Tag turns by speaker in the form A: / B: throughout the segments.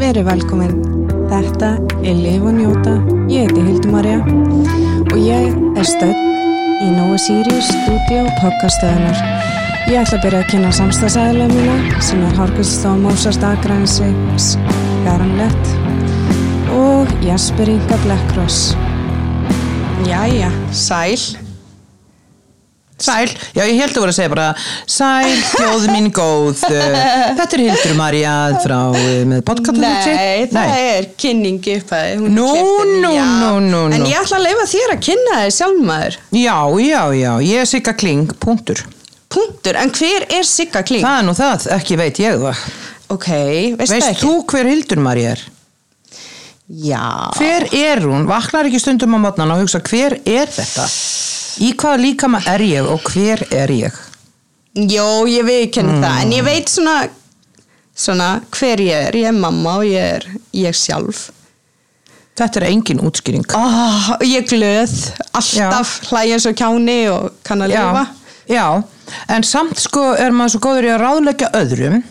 A: Verið velkomin. Þetta er Liv og Njóta. Ég heiti Hildur Marja og ég er stödd í Nóa Sirius stúdíu podcastöðunar. Ég ætla að byrja að kynna samstagsæðilega mína sem er Harkvist og Mósast Akrænsi, Garanlett og Jasper Inga Blackross. Jæja, sæl.
B: Sæl, já ég held að voru að segja bara Sæl, þjóð mín góð eh, Þetta er Hildur Marja frá eh, með podcastum
C: Nei, það er kynning upphæði hún er
B: Nú,
C: klippin,
B: nú,
C: já.
B: nú, nú, nú.
C: En ég ætla að leifa þér að kynna þér sjálfmaður
B: Já, já, já, ég er Sigga Kling, punktur
C: Punktur, en hver er Sigga Kling?
B: Það er nú það, ekki veit ég það
C: Ok, veist það
B: Veist
C: ekki?
B: þú hver Hildur Marja er?
C: Já
B: Hver
C: Ah.
B: er hún? Vaknar ekki stundum á mótnan og hugsa hver er þetta? Í hvaða líkama er ég og hver er ég?
C: Jó, ég viðkenni það En ég veit svona, svona hver ég er Ég er mamma og ég er ég sjálf
B: Þetta er engin útskýring
C: oh, Ég er glöð, alltaf hlæja eins og kjáni og kann að
B: já,
C: lifa
B: já, en samt sko er maður svo góður í að ráðleggja öðrum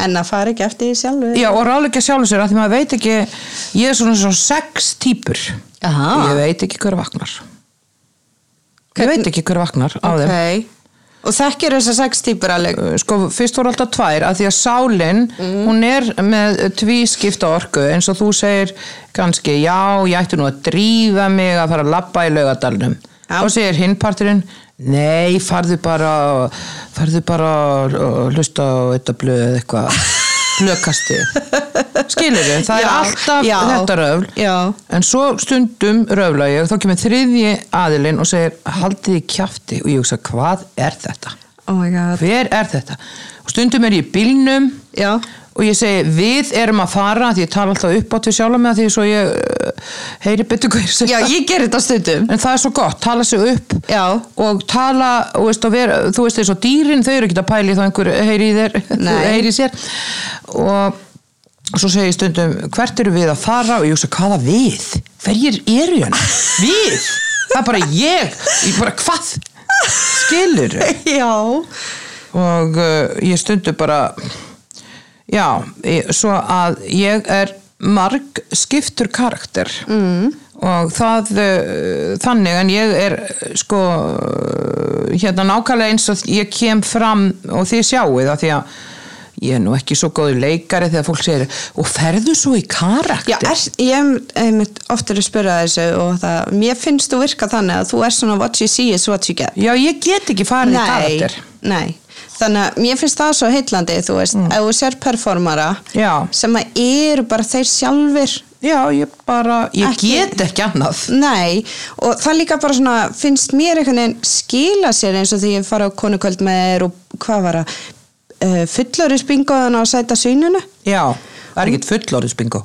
C: En að fara ekki eftir því sjálfu
B: Já, og ráðleggja sjálfur sér að því maður veit ekki ég er svona svona sex típur
C: Aha.
B: ég veit ekki hver vaknar ég
C: Hvern-
B: veit ekki hver vaknar á
C: Ok
B: þeim
C: Og þekkir þessar sex típur alveg
B: Uh, sko, fyrst voru alltaf tvær að því að sálin,
C: Mhm.
B: hún er með tvískipta orku, eins og þú segir kannski, já, ég ætti nú að drífa mig að fara að labba í laugadalnum
C: Já.
B: og segir hinnparturinn nei, farðu bara farðu bara að- að hlusta á þetta blöð eða eitthvað blöðkasti skilur við, það er
C: Já,
B: alltaf
C: já,
B: þetta röfl
C: já.
B: en svo stundum röfla ég, þá kemur þriðji aðilinn og segir, haldið í kjafti og ég hugsa, hvað er þetta?
C: Oh my god
B: hver er þetta og stundum er ég í bílnum
C: Já,
B: og ég segi við erum að fara því ég tala alltaf upp átt við sjálf með því svo ég uh, heyri betur hver sem
C: já ég ger þetta stundum
B: en það er svo gott, tala sig upp
C: Já.
B: og tala, og veist, og vera, þú veist eins og dýrin þau eru ekki að pæli þá einhver heyri í þér
C: Nei.
B: heyri í sér og svo segi ég stundum hvert eru við að fara og ég hugsa hvaða við hverjir eru hérna við, það er bara ég, ég bara hvað skilur
C: Já
B: og uh, ég stundu bara já, ég, svo að ég er marg skiptur karakter mm. og það uh, þannig en ég er uh, sko uh, hérna nákvæmlega eins og ég kem fram og þið sjáu það því að ég er nú ekki svo góður leikari þegar fólk segir og ferðu svo í karakter
C: Já, er, ég hef ofta að spyrja þessu og það, mér finnst þú virka þannig að þú er svona what you see is what you get
B: Já, ég get ekki farið í karakter
C: nei Þannig að mér finnst það svo heitlandi, þú veist, ef þú sér performara
B: Mm. Já.
C: sem að eru bara þeir sjálfir,
B: já, ég bara, ég
C: Ekki-
B: get ekki annað
C: nei, og það líka bara svona, finnst mér einhvern veginn skila sér eins og því ég fara á konuköld með þér og hvað var það, uh, fullurins bingoðan á sæta svínunu,
B: já, það er ekkert fullorðis bingo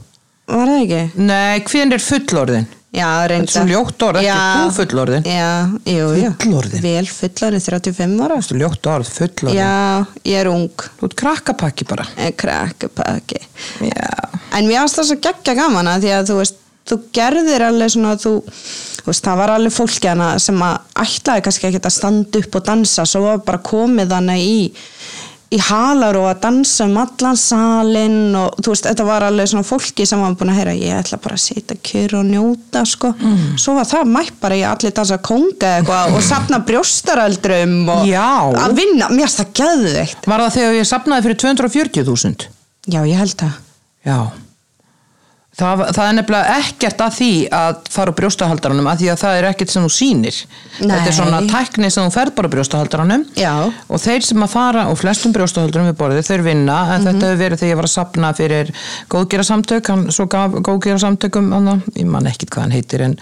C: var það ekki?
B: Nei, hvernig er fullorðin?
C: Já, reynda.
B: Þetta er svo ljótt orð, ekki þú fullorðin.
C: Já, jú, jú.
B: Fullorðin?
C: Vel fullorðin, 35 ára.
B: Þú ljótt orð, fullorðin.
C: Já, ég er ung,
B: Þú ert krakkapakki bara.
C: en krakkupakki.
B: Já.
C: Eh, En mér varst það svo geggja gaman að því að þú veist, þú gerðir alveg svona, þú, þú veist, það var alveg fólki hana sem að ætlaði kannski ekki að standa upp og dansa, svo var bara komið hana í í halar og að dansa um allan salin og þú veist, þetta var alveg svona fólki sem var búin að heyra, ég ætla bara að setja kjör og njóta, sko svo var það mætt bara í allir dansa konga eitthvað og safna brjóstaraldrum og
B: Já.
C: að vinna, mér finnst það geðveikt
B: Var það þegar ég sapnaði fyrir 240.000?
C: já, ég held það
B: Já. Það, var- það er nefnilega ekkert að því að fara á brjóstahaldaranum að því að það er ekkert sem þú sýnir.
C: Nei.
B: Þetta er svona tækni sem þú ferð bara á brjóstahaldaranum
C: Já.
B: og þeir sem að fara og flestum brjóstahaldarum við borðið þeir vinna en
C: Mhm.
B: þetta hefur verið þegar ég var að sapna fyrir góðgerasamtök, hann svo gaf góðgerasamtökum, hann, ég man ekkit hvað hann heitir en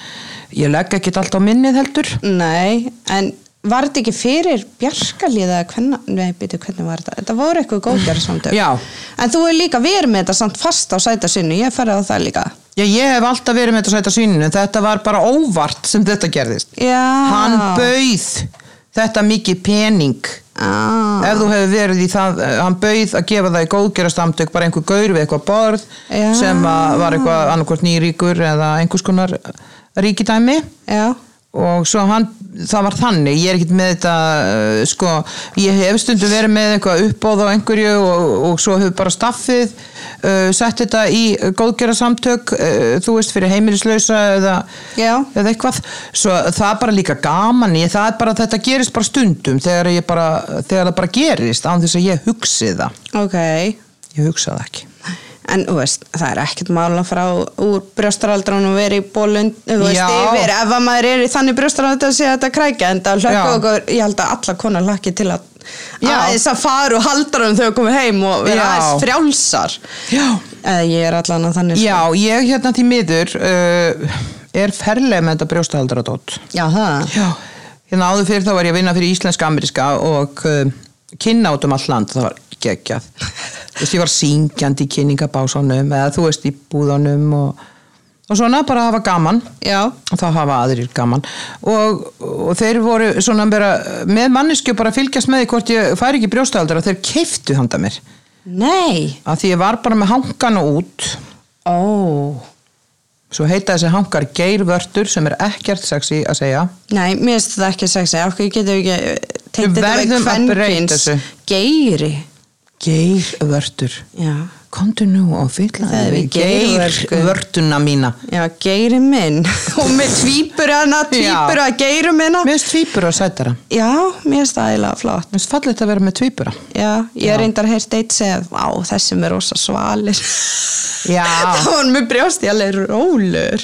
B: ég legg ekkit allt á minnið heldur.
C: Nei, en var þetta ekki fyrir bjarkalíða hvernig, nei, byrju, hvernig var þetta? Þetta voru eitthvað góðgjara samtök.
B: Já.
C: En þú er líka verið með þetta samt fast á sæta sinni, ég ferði á það líka.
B: Já, ég hef alltaf verið með þetta sæta svíninu, þetta var bara óvart sem þetta gerðist.
C: Já.
B: Hann bauð þetta mikið pening.
C: Ah.
B: Ef þú hefur verið í það, eh, hann bauð að gefa það í góðgerastamtök, bara einhver gaur við eitthvað borð
C: Já.
B: sem að var eitthvað annarkvort nýríkur eða einhvers konar eh, ríkidæmi
C: Já.
B: og svo hann, það var þannig ég er ekkert með þetta eh, sko, ég hef stundum verið með eitthvað uppbóð á einhverju og, og svo hefur bara staffið uh, sett þetta í góðgera samtök þú veist fyrir heimilislausa eða,
C: Já.
B: eða eitthvað svo það er bara líka gaman ég, það er bara, þetta gerist bara stundum þegar, ég bara, þegar það bara gerist án þess að ég hugsi það
C: ok
B: ég hugsa það ekki
C: en þú veist, það er ekkert mála frá úr brjóstaraldran og verið í bólund þú veist,
B: Já.
C: yfir, ef að maður er í þannig brjóstaraldran sé þetta krækja, en það hlökk
B: Já.
C: okkur ég held að alla konar hlakki til að
B: Já.
C: aðeins að fara og haldra um þau að koma heim og vera
B: Já.
C: aðeins frjálsar
B: já
C: eða ég er allan að þannig sko.
B: Já, ég hérna því miður uh, er ferleg með þetta brjóstahaldaradótt.
C: sko. já, það
B: Já. Hérna áður fyrir þá var ég að vinna fyrir íslenska-ameríska og uh, kynna út um all land, það var geggjað. þú veist, ég var syngjandi í kynningabásunum eða þú veist, í búðunum og, og svona, bara hafa gaman
C: já,
B: og þá hafa aðrir gaman og, og þeir voru svona bara með mannesku bara að fylgjast með því hvort ég færi ekki brjóstahaldara, þeir keiftu handa mér
C: nei
B: að því ég var bara með hangana út
C: ó,
B: Svo heita þessi hangar geirvörtur sem er ekkert sexy að segja.
C: nei, mér finnst þetta ekki sexi af hverju getum við ekki eh, tengt
B: Við
C: þetta við
B: verðum að breyta
C: kvenkyns
B: þessu.
C: geiri
B: Geirvörtur.
C: já,
B: Komdu nú og
C: Það
B: fyllaði
C: er
B: við
C: við geirvörku.
B: geirvörtuna mína.
C: Já, geiri minn og með tvípur hana, tvípur að geirum minna
B: Mér finnst tvíbura sætara.
C: Já, mér finnst það eiginlega flott
B: Mér finnst fallið að vera með tvíbura.
C: Já, ég reyndar að heyrta eitt segja Vá, þessi með rosa svalir
B: Já.
C: Það var með brjósti alveg rólur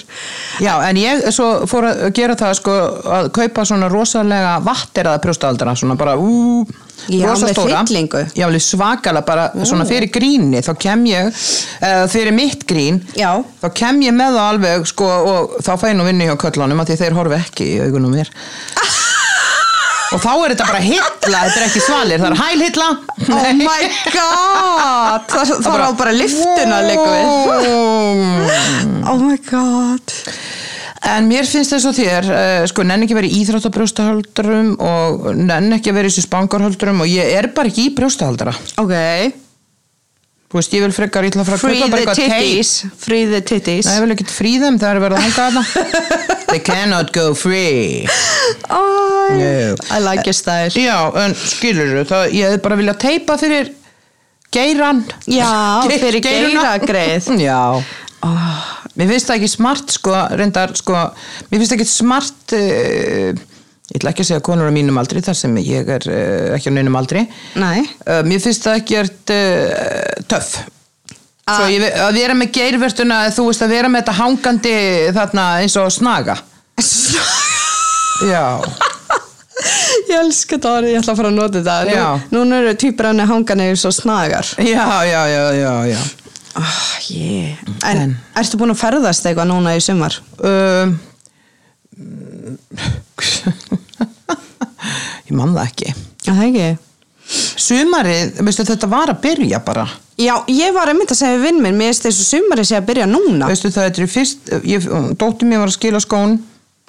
B: Já, en ég svo fór að gera það sko að kaupa svona rosalega vatteraða brjóstaaldara, svona bara ú,
C: Já,
B: rosa
C: með
B: stóra.
C: fyllingu.
B: Já, alveg svakalega bara svona fyrir gríni, þá kem ég, uh, fyrir mitt grín,
C: Já,
B: þá kem ég með það alveg sko, og þá fæ ég nú vinnu hjá köllunum að því þeir horfi ekki í augunum mér og þá er þetta bara hitla þetta er ekki svalir, það er hælhitla
C: oh my god Það, það var á bara liftuna leikum við Oh my god
B: en mér finnst þess að þér eh, sko, nenn ekki að vera í íþróttabrjóstahöldurum og nenn ekki að vera í þessu spangarhöldurum og ég er bara ekki í brjóstahaldara
C: Ok,
B: þú veist, ég vil frekar, ég ætla að frekar
C: free
B: kaupa bara
C: the
B: eitthvað tape.
C: titties Free the titties
B: Nei, ég vil ekki fríðum, það er verið að hanga þarna They cannot go free
C: oh,
B: No.
C: I like your style
B: Já, en skilur þú, það, ég hefði bara viljað teipa fyrir geiran.
C: Já, fyrir
B: geiruna.
C: geiragreið.
B: Já.
C: oh,
B: Mér finnst það ekki smart, sko, reyndar, sko, mér finnst það ekki smart, uh, ég ætla ekki að segja konur á mínum aldri, þar sem ég er uh, ekki á neinum aldri.
C: Nei
B: Uh, mér finnst það ekki uh, töff.
C: Ah.
B: Svo ég, ve- að vera með geirvertuna, þú veist, að vera með þetta hangandi þarna eins og snaga. Já.
C: Ég elska þetta orðið, ég ætla að fara að nota þetta
B: Já.
C: Nú- Núna eru týpur hann hangan eða svo snagar
B: Já, já, já, já, já.
C: oh, yeah. en,
B: En-
C: ertu búin að ferðast eitthvað núna í sumar?
B: um, ég man það ekki
C: Já, það ekki
B: sumarið, veistu þetta var að byrja bara
C: Já, ég var einmitt að segja við vinn minn Mér finnst þessu sumari sé að byrja núna
B: veistu það þetta er fyrst ég, dóttir mér var að skila skón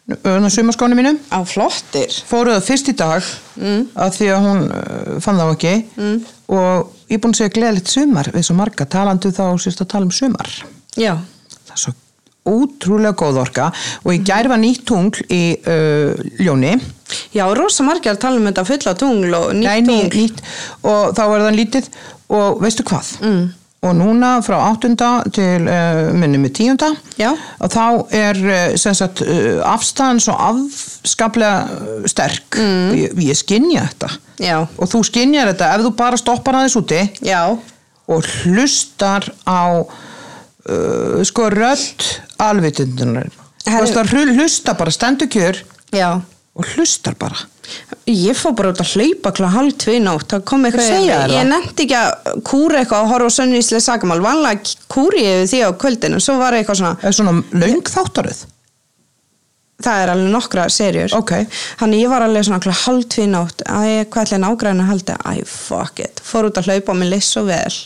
B: öðna sumarskónu mínu
C: Á flottir
B: fóruðu fyrst í dag mm. að því að hún uh, fann það ekki mm. og ég er búin að segja gleðilegt sumar við svo marga talandu þá sérst að tala um sumar
C: Já,
B: það er svo ótrúlega góð orka og ég gær var nýtt tungl í uh, ljóni
C: Já rosa margir að tala um þetta fulla tungl og nýtt
B: Nei, ný-
C: tungl
B: nýtt og þá er það lítið og veistu hvað mm. og núna frá áttunda til uh, minnum með tíunda
C: Já.
B: og þá er uh, sem sagt uh, afstæðan svo afskaplega uh, sterk mm. ég, ég skinja þetta
C: Já,
B: og þú skinjar þetta ef þú bara stoppar aðeins úti
C: já
B: og hlustar á uh, sko rödd alvitundunar
C: Herru-
B: hlusta bara stendur kjör
C: Já
B: og hlustar bara
C: Ég fór bara út að hlaupa klá halv tvið í nótt, það kom eitthvað
B: Segja
C: yfir mig.
B: þér það?
C: Ég nefndi ekki að kúra eitthvað og horfa á sönnvíslega sakamál, vanlega kúri ég yfir því á kvöldinu, svo var eitthvað svona
B: er svona löng þáttaröð
C: það er alveg nokkra serjur
B: Ok.
C: þannig ég var alveg svona okkur hálftví nátt æ, hvað ætlaði nágræna að halda æ, fuck it, fór út að hlaupa og mér leys svo vel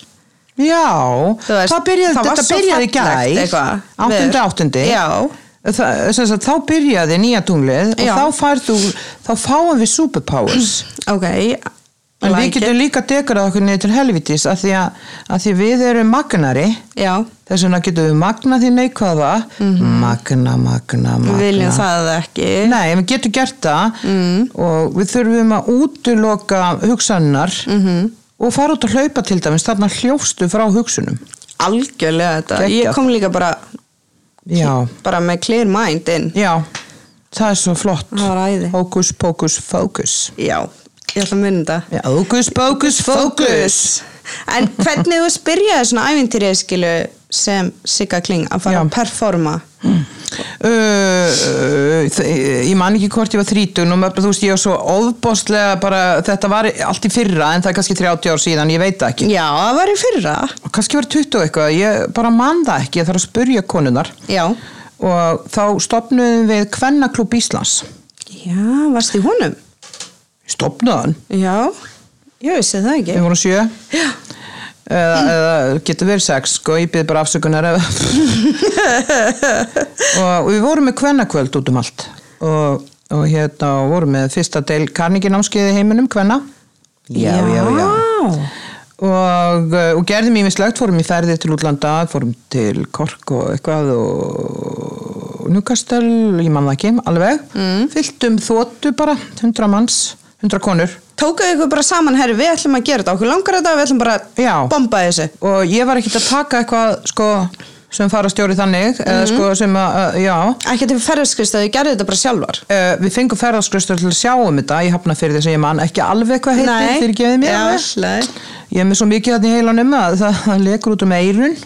B: Já,
C: Þú veist,
B: það byrjaði,
C: það var
B: þetta
C: svo
B: byrjaði í
C: fallegt
B: gær,
C: eitthvað.
B: áttundi
C: Veður.
B: áttundi,
C: Já.
B: Það, sem sagt, þá byrjaði nýja tunglið
C: Já.
B: og þá færðu, þá fáum við superpowers.
C: ok,
B: en við
C: Like
B: getum líka degrað okkur niður til helvitis af því að, að því við erum magnari
C: já,
B: þess vegna getum við magna því neikvæða magna, magna, magna
C: Mhm. við viljum það Mm. ekki
B: Nei, við getum gert það og við þurfum að útiloka hugsanar -hmm.
C: Mhm.
B: og fara út að hlaupa til dæmis þarna hljófstu frá hugsunum.
C: algjörlega þetta,
B: Geggjað.
C: ég kom líka bara
B: Já,
C: bara með clear mind inn
B: já, það er svo flott.
C: Það var æði.
B: Hókus, pókus, fókus.
C: já, ég ætla að muni þetta
B: Já, Hókus, pókus, fókus.
C: En hvernig þú spyrjaði svona ævintýrið skilu sem Sigga Kling að fara
B: Já.
C: að performa
B: Uh, uh, þ- ég man ekki hvort ég var þrítun og maður, þú veist ég var svo óðbóstlega bara þetta var allt í fyrra en það er kannski 30 ár síðan, ég veit það ekki
C: Já, það var í fyrra
B: kannski var 20 og eitthvað, ég bara man það ekki ég þarf að spurja konunar
C: Já,
B: og þá stopnuðum við Kvennaklub Íslands
C: já, varst í honum
B: stopnuðan,
C: Já, ég vissi það ekki
B: við vorum sjö eða, eða getur verið sex sko, ég byrði bara afsökunar ef- og við vorum með Kvennakvöld út um allt og, og hérna og vorum með fyrsta deil karninginámskeiði heiminum Kvenna og, uh, og gerðum ímislegt, fórum í ferði til útlanda, fórum til Kork og eitthvað og Newcastle, ég man það ekki alveg, mm. fylltum þóttu bara 100 manns, 100 konur
C: Tókuðu ykkur bara saman, herri, við ætlum að gera þetta okkur langar þetta, við ætlum bara að
B: Já.
C: bomba þessu
B: og ég var ekkert að taka eitthvað sko, sem farastjóri þannig eða
C: Mhm.
B: sko sem að, uh, já
C: Ekki til ferðskristaði, gerðu þetta bara sjálfar
B: Uh, við fengum ferðarskristur til að sjá um þetta ég hafna fyrir þess að ég man ekki alveg hvað heitir fyrir gefið mér
C: já,
B: alveg.
C: alveg
B: Ég er með svo mikið þarna í heilanum að það, það lekur út um eirun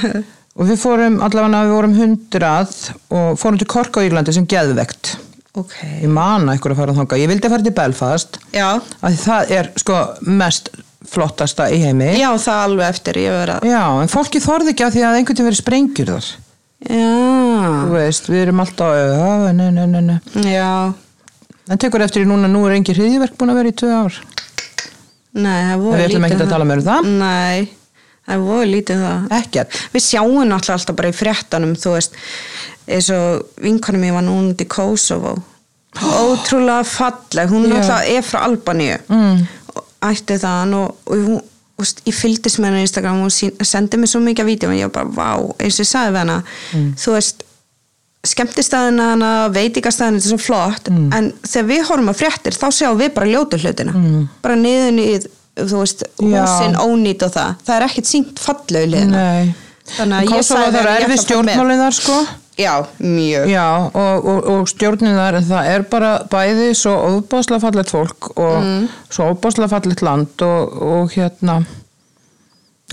B: og við fórum allavega við vorum hundrað og fórum til Kork á Írlandi sem geðvegt.
C: Ok
B: Ég man að ykkur að fara þangað. Ég vildi að fara til Belfast
C: Já,
B: af því það er sko mest flottasta í heimi.
C: já það alveg eftir, ég verið að
B: Já, en fólki þorði ekki að því að einhvern veginn verið sprengjur þar. Þú
C: Já,
B: veist, við erum alltaf, já, ne, ne, ne, ne.
C: já
B: En tekur eftir í núna, nú er engin hriðjverk búin að vera í tvö ár.
C: Nei, það er voru
B: Við ætlum
C: lítið
B: ekkert að
C: það.
B: tala meira um það.
C: Nei, það er voru lítið það
B: Ekkert.
C: Við sjáum náttúrulega alltaf bara í fréttanum þú veist, eins og vinkonum ég var núna út í Kosovo ótrúlega falleg hún
B: Já.
C: náttúrulega er frá Albaníu mm. ætti þaðan og, og hún þú veist, ég fylgdist með henni á Instagram og hún sín- sendi mér svo mikið að vídeo og ég var bara, vá, eins og ég sagði við hana
B: Mm.
C: þú veist, skemmtistæðina hana, veitingastæðina, þetta er svo flott
B: Mm.
C: en þegar við horfum að fréttir þá sjáum við bara ljótu hlutina mm. bara niðun í, þú veist,
B: Já.
C: húsin ónýt og það, það er ekkert sínt fallegu hliðina
B: Nei.
C: Þannig að ég
B: Kosovo
C: sagði
B: það
C: að
B: er erfið
C: ég ætla að fara með.
B: stjórnmálin þar sko.
C: Já, mjög
B: Já, og, og, og stjórnin þar, en það er bara bæði svo óbáslega fallegt fólk og
C: Mm.
B: svo óbáslega fallegt land og, og hérna,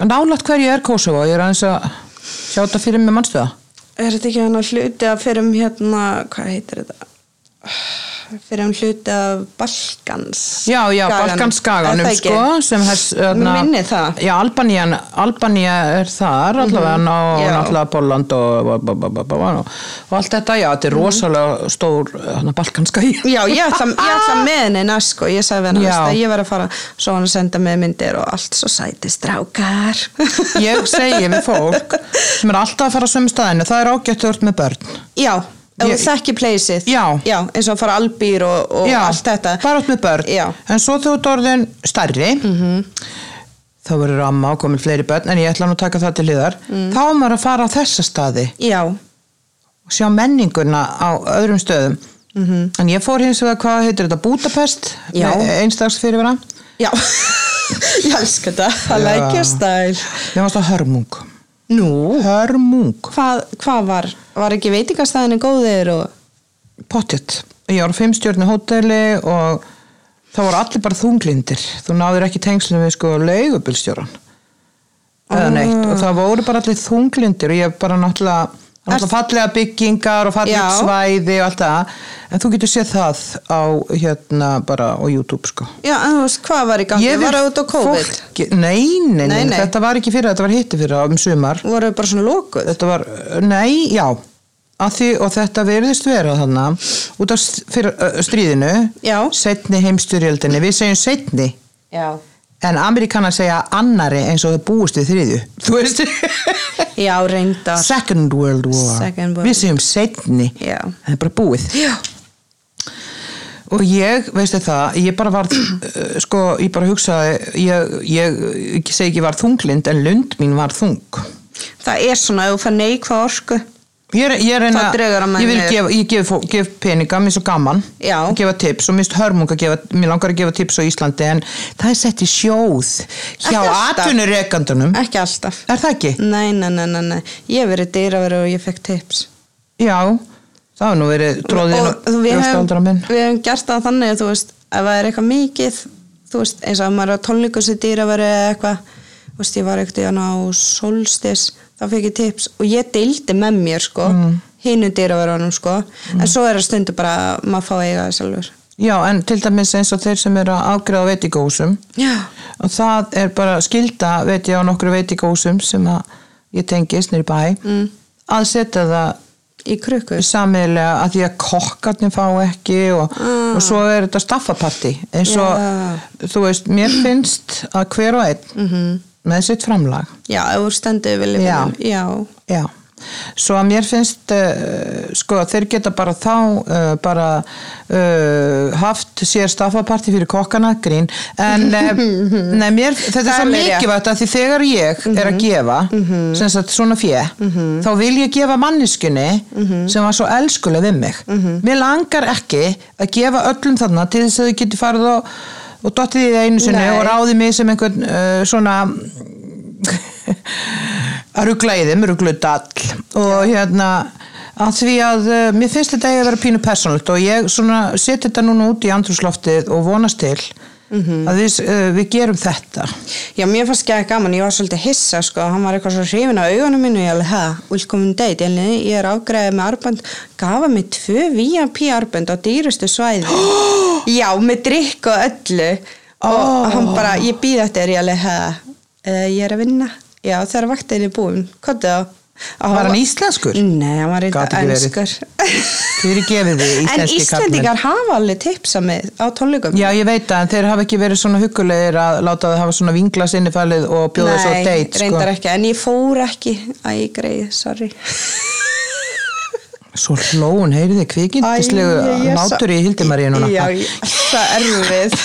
B: nálægt hverju er Kosovo, ég er aðeins að sjá þetta fyrir mig mannstu það.
C: Er þetta ekki hann að hluti að fyrir um hérna, hvað heitir þetta? Fyrir um hluti af Balkans
B: Já, já,
C: skaganum. Er
B: Balkanskaganum
C: það ekki?
B: sko, sem hess, hérna,
C: Minni það. Mhm.
B: Já, Albanían, Albanía er þar allavega og
C: Já.
B: náttúrulega Póland og, og, og, og, og, og allt þetta, já, þetta er rosalega stór, hérna, Balkanskagi.
C: Mhm. Já, ég ætla, ég ætla með henni næst sko, ég sagði við henni
B: Ah! Já.
C: veist að ég verð að fara svo hann að senda með myndir og allt svo sæti strákar
B: ég segi við fólk sem er alltaf að fara á sömu staðinu það er ágætt öll með börn
C: Já, ef þú
B: Ég-
C: þekki pleysið
B: Já.
C: eins og að fara albýr og, og allt þetta
B: bara öll með börn
C: Já. Mhm.
B: en svo þú ert orðin stærri þá verður amma og komin fleiri börn en ég ætla nú að taka það til hliðar
C: Mhm.
B: þá er maður að fara á þessa staði
C: Já,
B: og sjá menninguna á öðrum stöðum en ég fór hins vegar hvað heitir þetta Budapest
C: Mhm. Já.
B: einstags fyrirvara
C: já Ég elska þetta, það
B: Já.
C: lækja stæl
B: ég varst á Hörmung
C: Nú,
B: Hörmung,
C: hvað, hvað var, var ekki veitingastæðinni góðir og
B: pottet ég var á fimmstjörni hóteli og það voru allir bara þunglindir þú náður ekki tengslum við sko leigubilstjóran
C: Ah.
B: eða neitt og það voru bara allir þunglindir og ég bara náttúrulega náttúrulega fallega byggingar og fallega
C: Já.
B: svæði og allt það en þú getur séð það á hérna bara á YouTube sko
C: já, en þú veist, hvað var í gangi,
B: vil
C: var það út á COVID
B: fólki, nei, nei, nei,
C: Nei, nei.
B: þetta var ekki fyrir þetta var hitti fyrir um sumar
C: voru bara svona lókuð
B: þetta var, nei, já að því, og þetta verðist vera þannig út af st- fyrir, ö, stríðinu
C: Já.
B: setni heimsturjöldinni við segjum setni
C: já.
B: en amerikanar segja annari eins og þau búist við þriðju þú veist
C: já, reyndar
B: second world war
C: Second World
B: við segjum setni
C: Já.
B: það er bara búið
C: já.
B: og ég, veistu það, ég bara var eh, sko, ég bara hugsaði ég, ég, ég segi ekki var þunglind en lund mín var þung
C: það er svona, ef þú fær neikvað orku
B: ég, er- ég reyna,
C: Það dregur að menn
B: ég vil
C: niður.
B: gefa, ég gef, fó- gef peninga, mér er svo gaman
C: Já.
B: að gefa tips og mér er hörmung að gefa mér langar að gefa tips á Íslandi en það er sett í sjóð hjá
C: Ekki alltaf.
B: atvinnureikandunum
C: ekki alltaf
B: er það ekki?
C: nei, nei, nei, nei, nei. ég hef verið dýraveru og ég fekk tips
B: Já, það var nú verið tróðin
C: og þú- við
B: rjóstaldra
C: hefum,
B: minn
C: við hefum gert það þannig að þú veist, ef það er eitthvað mikið þú veist, eins og ef maður er á tónleiku sem dýra verið eða eitthvað þú veist, ég var eitthvað hann á solstis þá fekk ég tips og ég deildi með mér sko, hinu dýraverunum sko, en svo er það stundu bara að maður fá að eiga það sjálfur
B: Já, en til dæmis eins og þeir sem eru að afgriða á veitingósum
C: já,
B: og það er bara skilda veit ég á nokkru veitingósum sem að ég tengist nýr bæ mm. að setja það
C: í krukku
B: samiðlega að því að kokkarnir fá ekki og, og svo er þetta staffaparti eins og þú veist, mér finnst að hver og einn -hmm. með sitt framlag
C: já, ef þú stendur viljum
B: Já.
C: já,
B: Já, svo að mér finnst uh, sko þeir geta bara þá uh, bara uh, haft sér staffaparti fyrir kokkana grín, en uh, nei, mér, þetta er
C: Það er Mhm.
B: svo
C: alveg rétt.
B: mikilvægt að því þegar ég er að gefa sem sagt svona fjö
C: Mhm.
B: þá vil ég gefa manniskunni sem var svo elskuleg við mig
C: Mhm.
B: mér langar ekki að gefa öllum þarna til þess að þau geti farið og, og dottið í það einu sinni
C: Nei.
B: og ráði mig sem einhvern uh, svona að ruggla í þeim, rugglu dall og hérna að því að uh, mér finnst þetta eiga að vera pínu persónult og ég svona seti þetta núna út í andrúsloftið og vonast til
C: Mhm.
B: að við, uh, við gerum þetta
C: já, mér fannst ekki gaman ég var svolítið hissa, sko, hann var eitthvað svo hrifin á augunum mínu, ég alveg, hæ, willkommen date ég, alveg, ég er ágræðið með arbönd gafa mig tvö VIP arbönd á dýrustu svæði já, með drikk og öllu og hann bara, ég býð eftir, ég alveg, hæ uh, ég er að vinna já, þegar vaktin er búin, hvað það
B: Var hann íslenskur?
C: Nei, hann var
B: Gat
C: eitthvað
B: ekki verið.
C: ennskur
B: Fyrir gefið þið
C: En
B: íslenski
C: Íslendingar hafa alveg tipsa með á tónleikum
B: Já, ég veit að þeir hafa ekki verið svona hugulegir að láta þau hafa svona vingla sinnifælið og bjóða svo á date
C: reyndar
B: sko.
C: ekki, en ég fór ekki Æ, greið, sorry
B: Svo hlóun, heyrið þið
C: Æ,
B: kvikindislegu
C: ég er svo-
B: nátur í Hildimaríu núna
C: Já, ég er svo erfið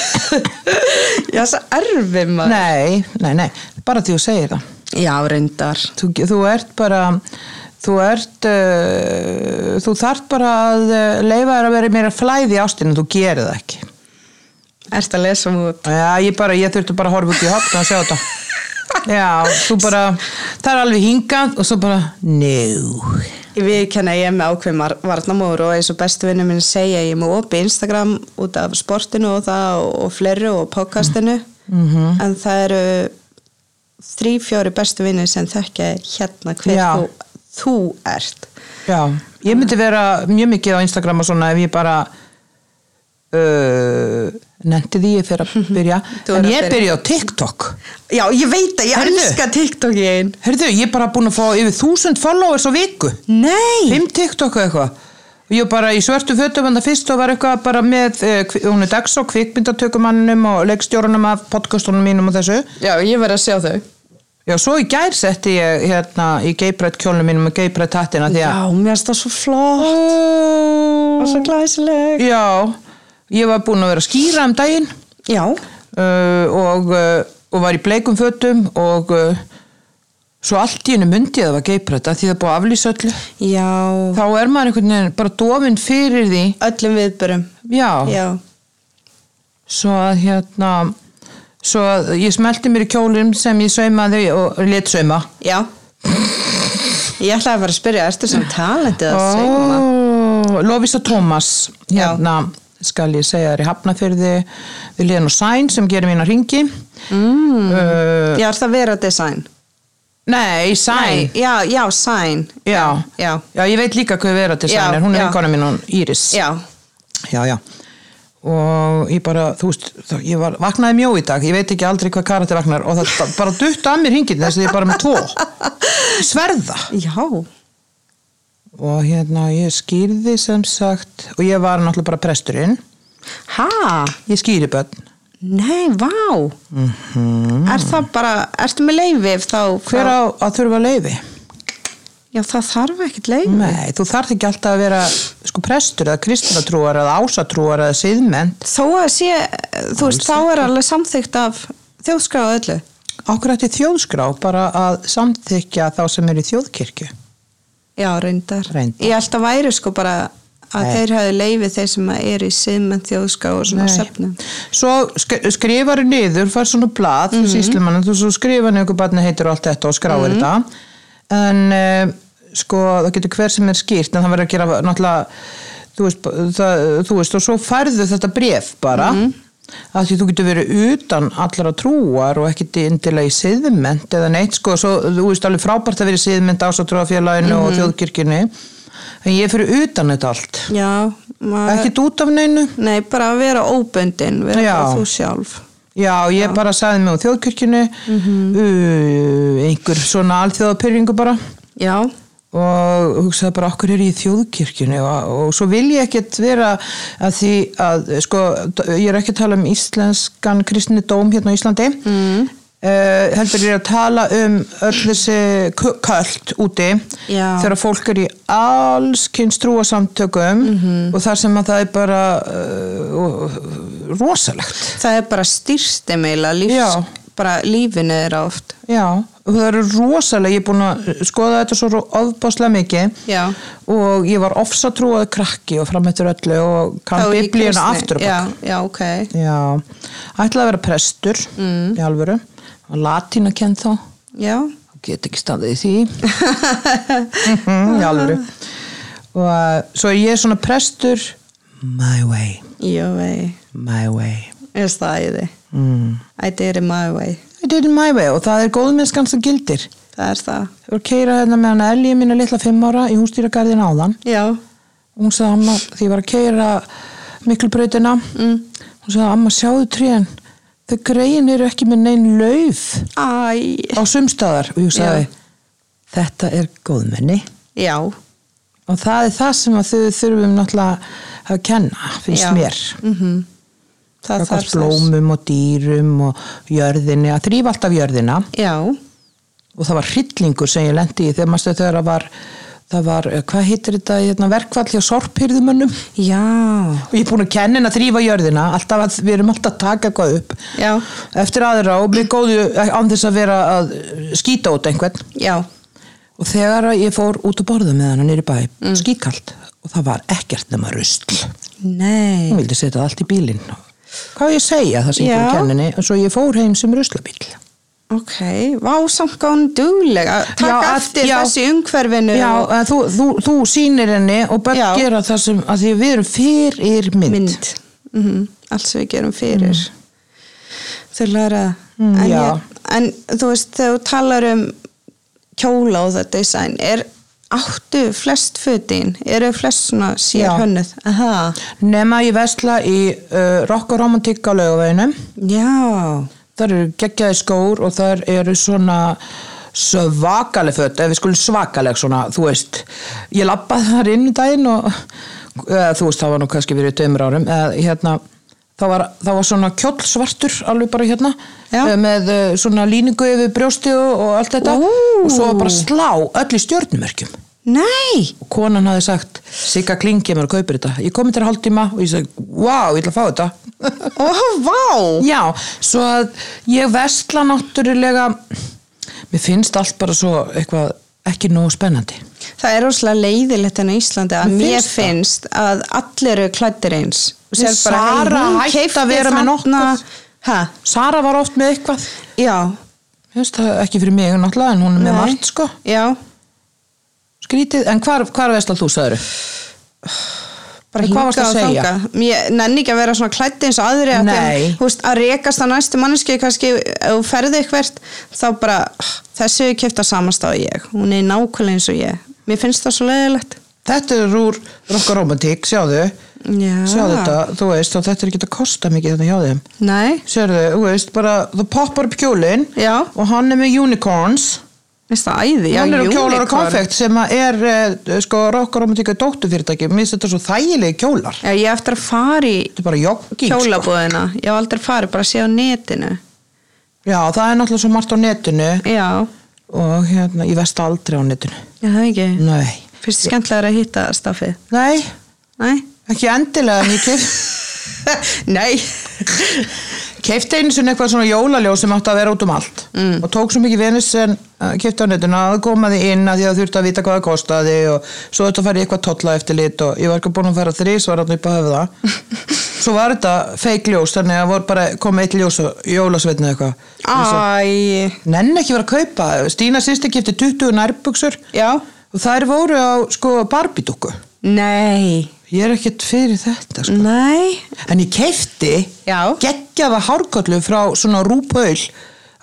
C: Ég er svo erfið maður
B: Nei, nei, nei, bara því þú segir það
C: Já, reyndar
B: þú, þú ert bara þú ert uh, þú þart bara að uh, leifa þér að vera meira flæði í ástinu, þú gerir það ekki
C: Ertu að lesa um- múið
B: Já, ég bara, ég þurfti bara að horfa út í hopna og sjá þetta Já, þú bara það er alveg hingað og svo bara no,
C: Ég viðkenni að ég er með ákveðum varnamóður og eins og bestu vinnum minn segja ég er með opið Instagram út af sportinu og það og, og fleiri og podcastinu
B: Mhm.
C: -hmm. en það eru þrý, fjóri bestu vinnir sem þekkja hérna hver
B: Já.
C: þú, þú ert
B: já ég myndi vera mjög mikið á Instagram og svona ef ég bara uh, nefndi því ég fyrir að byrja
C: Þú
B: en
C: er að
B: ég
C: byrja.
B: byrja á TikTok
C: Já, ég veit að ég
B: Heyrðu.
C: elska TikTok í einn
B: Herðu, ég er bara búin að fá yfir þúsund followers á viku
C: Nei!
B: fimm TikTok og eitthvað og ég var bara í svörtu fötum en það fyrst og var eitthvað bara með eh, kvi- hún er dags og kvikmyndatökumanninum og leikstjórunum af podcastunum mínum og þessu
C: Já, ég verð að sjá þau
B: já svo í gær setti ég hérna í geibrætt kjólnum mínum og geibrætt hattina því að
C: Já, mér erst það svo flott og svo glæsileg
B: já ég var búin að vera að skýra um daginn
C: Já,
B: uh, og, uh, og var í bleikum fötum og uh, svo allt í hennu myndi ég að það var geibrætt af því það er búið að aflýsa öllu
C: já
B: þá er maður einhvern veginn bara dofinn fyrir því
C: Öllum viðbörum Já,
B: svo að hérna svo að ég smelti mér í kjólum sem ég saumaði og let sauma
C: já Ég ætlaði bara að spyrja, ertu sem talentið að segma?
B: Ó, Lovisa Thomas hérna skal ég segja þér í Hafnafyrði við Lena Sæn sem gerir mína ringi mm. uh,
C: Já, er það vera design?
B: nei Sæn
C: Já, já, sign
B: já.
C: Já,
B: já, ég veit líka hvað vera til
C: Já,
B: Sæn er hún er
C: já.
B: vinkona mín, hún Íris
C: já
B: já, já og ég bara, þú veist, þá, ég var, vaknaði mjó í dag ég veit ekki aldrei hvað karakter vaknar og það ba- bara dutta að mér hingið þess að ég er bara með tvo sverða
C: Já,
B: og hérna ég skýrði sem sagt og ég var náttúrulega bara presturinn
C: ha,
B: ég skýri börn
C: nei, vá
B: Mhm.
C: Er það bara, ertu með leifif þá
B: hver á að þurfa leiði?
C: já það þarf ekkert leið
B: Nei, þú þarf ekki alltaf að vera sko prestur eða kristnatrúar eða ásatrúar eða siðmend.
C: þó að sé, þú veist, þá er alveg samþygt af þjóðskráð öllu
B: Ákveð þetta er þjóðskrá bara að samþykja þá sem er í þjóðkirkju.
C: já, reyndar,
B: Reyndar.
C: ég held að væri sko bara að
B: Nei.
C: þeir hafi leifið þeir sem að eru í siðmenn þjóðskráð og svona
B: Nei.
C: söfnum
B: Svo sk- skrifar þú niður, fær svona blað mm -hmm. síslimann, þú svo skrifar niður barni heitir og allt þetta og skráir þetta en e, sko það getur hver sem er skýrt en það verður að gera náttúrulega þú veist, það, þú veist og svo færðu þetta bref bara af því þú getur verið utan allra trúar og ekkit indilega í siðmynd eða neitt sko, svo, þú veist alveg frábært að vera í siðmynd ásatrúafélaginu og þjóðkirkjunni en ég er fyrir utan þetta allt
C: já, maður,
B: ekkit út af neinu
C: nei, bara að vera óböndin vera
B: Já.
C: bara þú sjálf
B: Já, Mhm. ég bara sagði mig á þjóðkirkjunni uh, einhver svona alþjóðapyrringu bara
C: já,
B: og hugsaði bara okkur er ég í þjóðkirkjunni og, og svo vil ég ekkert vera að því að sko, ég er ekki að tala um íslenskan kristni dóm hérna á Íslandi mm. heldur ég er að tala um öll þessi kö- költ úti
C: Já.
B: þegar fólk er í alls kynns trúasamtökum og þar sem að það er bara uh, rosalegt
C: það er bara styrstimeila lífs,
B: Já.
C: bara lífinu er oft
B: Já, og það eru rosalega, ég er búin að skoða þetta svo ofbáslega mikið
C: Já.
B: og ég var ofsatrúað krakki og framhættur öllu og kann
C: Þá er ég
B: biblíuna
C: kristni.
B: aftur á
C: já,
B: bak.
C: já, ok
B: Já, ætlaði að vera prestur mm. í alvöru, var latína kent þá,
C: já,
B: get ekki staðið í því, Mhm, í alvöru. Og uh, svo er ég svona prestur, my way,
C: já, vei
B: my way.
C: ég stæði
B: Mm.
C: I did it my way
B: I did it my way og það er góðmennskan sem gildir.
C: það er það
B: Ég var að keira hérna með hana Ellie, mínu litla fimm ára, í hústýragarðin áðan.
C: já,
B: Og Hún sagði amma, því ég var að keira miklubrautina, mm. hún sagði amma, sjáðu trén, þau greiðin eru ekki með neinn lauf
C: æ
B: á sumstaðar. Og ég sagði, þetta er góðmenni.
C: já,
B: Og það er það sem að þau þurfum náttúrulega að kenna, finnst
C: Já. Mm,
B: mér.
C: það
B: Hvað
C: þarf þess
B: blómum og dýrum og jörðinni, að þrýfa alltaf jörðina.
C: já,
B: og það var hryllingur sem ég lendi í þegar maður stöðu þegar það var, það var, eh, hvað heitir þetta, hérna, verkfall hjá sorphyrðumönnum
C: já
B: og ég er búin að kenna henn að þrýfa jörðina alltaf að við erum alltaf að taka eitthvað upp
C: já,
B: eftir aðra og mér góðu eh, án þess að vera að skýta út einhvern
C: já,
B: og þegar að ég fór út að borða með hann nýri bæ, mm. skýtkalt og það var ekkert nema rusl
C: nei
B: hún vildi setja það allt í bílinn hvað á ég að segja það sem ég fór
C: Já.
B: að kenna henni en svo ég fór heim sem ruslabíl
C: ok, vá, samt gáðan dugleg að
B: Já,
C: taka
B: að-
C: eftir
B: já.
C: þessu umhverfinu
B: Já,
C: og
B: að þú, þú, þú sýnir henni og börn
C: Já.
B: gera það sem, að því við erum fyrir mynd.
C: mynd mm allt sem við gerum fyrir þau læra
B: Mm,
C: en,
B: já.
C: ég, en þú veist, þegar þú talar um kjóla og það design er áttu flest fötin eru flest svona sér
B: Já.
C: hönnuð aha,
B: Nema ég vesla í uh, rock og romantík á laugaveginum.
C: já
B: Það eru geggjaði skór og það eru svona svakaleg fött, ef við skulum svakaleg svona, þú veist, ég lappaði þar inn í daginn og eða, þú veist, það var nú kannski verið tveimur árum eða, hérna, það var, það var svona kjóll svartur alveg bara hérna
C: Já.
B: eh, með eh, svona líningu yfir brjósti og, og allt þetta
C: Ú.
B: og svo var bara slá öll í stjörnumörkjum
C: nei,
B: og konan hafði sagt Sigga Kling kemur og kaupir þetta ég kom til þér hálftíma og ég sagði wow, ég ætla að fá þetta
C: oh, vá
B: já, svo að ég vesla náttúrulega mér finnst allt bara svo eitthvað ekki nógu spennandi
C: það er rosalega leiðilegt en á Íslandi að
B: Mér
C: mér
B: finnst það.
C: finnst að allir eru klættir eins og sér bara, hey,
B: Sara
C: hún
B: hætti
C: keypti
B: að vera með
C: þarna-
B: nokkuð.
C: ha,
B: Sara var oft með eitthvað
C: já,
B: Mér finnst það ekki fyrir mig náttúrulega en hún er með
C: Nei.
B: margt sko
C: já
B: skrítið, en hvar, hvar vesla þú sagður?
C: bara
B: En hvað varstu að
C: hingað og
B: segja?
C: þangað ég nenni ekki að vera svona klætt eins og aðri að,
B: Nei.
C: þú veist, að rekast á næstu manneski kannski ef þú ferði eitthvert þá bara þessu kefta samastáð ég hún er nákvæmlega eins og ég mér finnst það svo leiðilegt
B: Þetta er úr rokkar romantík, sjáðu
C: Já.
B: sjáðu þetta, þú veist, og þetta er ekki að kosta mikið þetta hjá þeim
C: nei,
B: Sérðu, þú veist, bara þú poppar upp kjólinn
C: Já.
B: og hann er með unicorns
C: finnst það æði já,
B: hann er á kjólar og
C: unicorn.
B: konfekt sem að er eh, sko rokkaromantíka dóttufyrirtæki mér finnst þetta svo þægilegi kjólar
C: já, ég á eftir að fara í
B: þetta er bara jogging sko.
C: hjólabúðina ég hef aldrei farið, bara að sé á netinu
B: já það er náttúrulega svo margt á netinu
C: já,
B: og hérna, ég vest aldrei á netinu
C: Já, það ekki.
B: Nei,
C: Fyrst skemmtilega að hitta stafið.
B: nei,
C: Nei?
B: ekki endilega mikið.
C: Nei.
B: Keifti einu sinni eitthvað svona jólaljós sem átti að vera út um allt mm. og tók svo mikið venus en keifti á netinu að koma því inn að því að þurfti að vita hvað það kostaði og svo þetta farið eitthvað tolla eftir lit og ég var ekki búin að fara þrís var hann upp að höfða svo var þetta fake ljós þannig að voru bara komið eitt ljós og jólasveitni eitthvað
C: Æ.
B: nenn ekki var að kaupa Stína sýsti keifti 20 nærbuksur
C: Já.
B: og þær voru á sko barbidúku
C: Nei.
B: ég er ekkert fyrir þetta sko.
C: Nei.
B: En ég keifti
C: Já.
B: geggjaða hárkollu frá svona rúpaul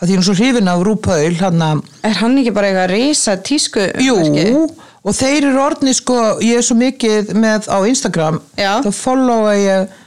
B: að því hún er svo hrifin af rúpaul hann að,
C: Er hann ekki bara eitthvað risa tísku?
B: jú
C: verkið?
B: og þeir eru orðni sko, ég er svo mikið með á Instagram,
C: Já.
B: þá followa ég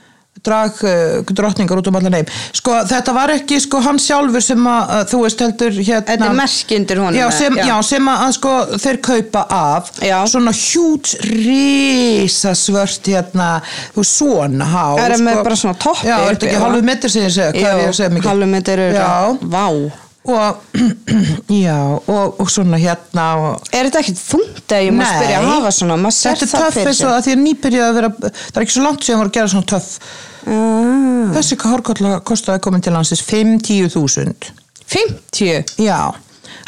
B: drag uh, drottningar út um allan heim sko þetta var ekki sko hann sjálfur sem að uh, þú veist heldur hérna
C: Þetta er merki undir honum,
B: já, sem,
C: eða?
B: já.
C: Já.
B: sem að, að sko þeir kaupa af
C: Já.
B: svona hjút risasvört hérna þú veist, svona hár
C: Er það með
B: sko.
C: bara svona toppi
B: já, er
C: uppi,
B: þetta ekki
C: eða?
B: halvu metri sem ég segja, hvað er ég að segja mikið
C: Halvumetir eru
B: já,
C: Vá.
B: og, já og, og svona hérna og
C: Er þetta ekkert þungt að ég má spyrja að hafa svona? Maður sér
B: þetta er
C: það
B: töff eins
C: fyrir
B: og
C: sér.
B: að því að nýbyrjaði að vera það er ekki svo langt sem voru að gera svona töff
C: Ah.
B: þessi hárkolla kostaði komin til landsins 5-10 þúsund
C: 50.
B: já,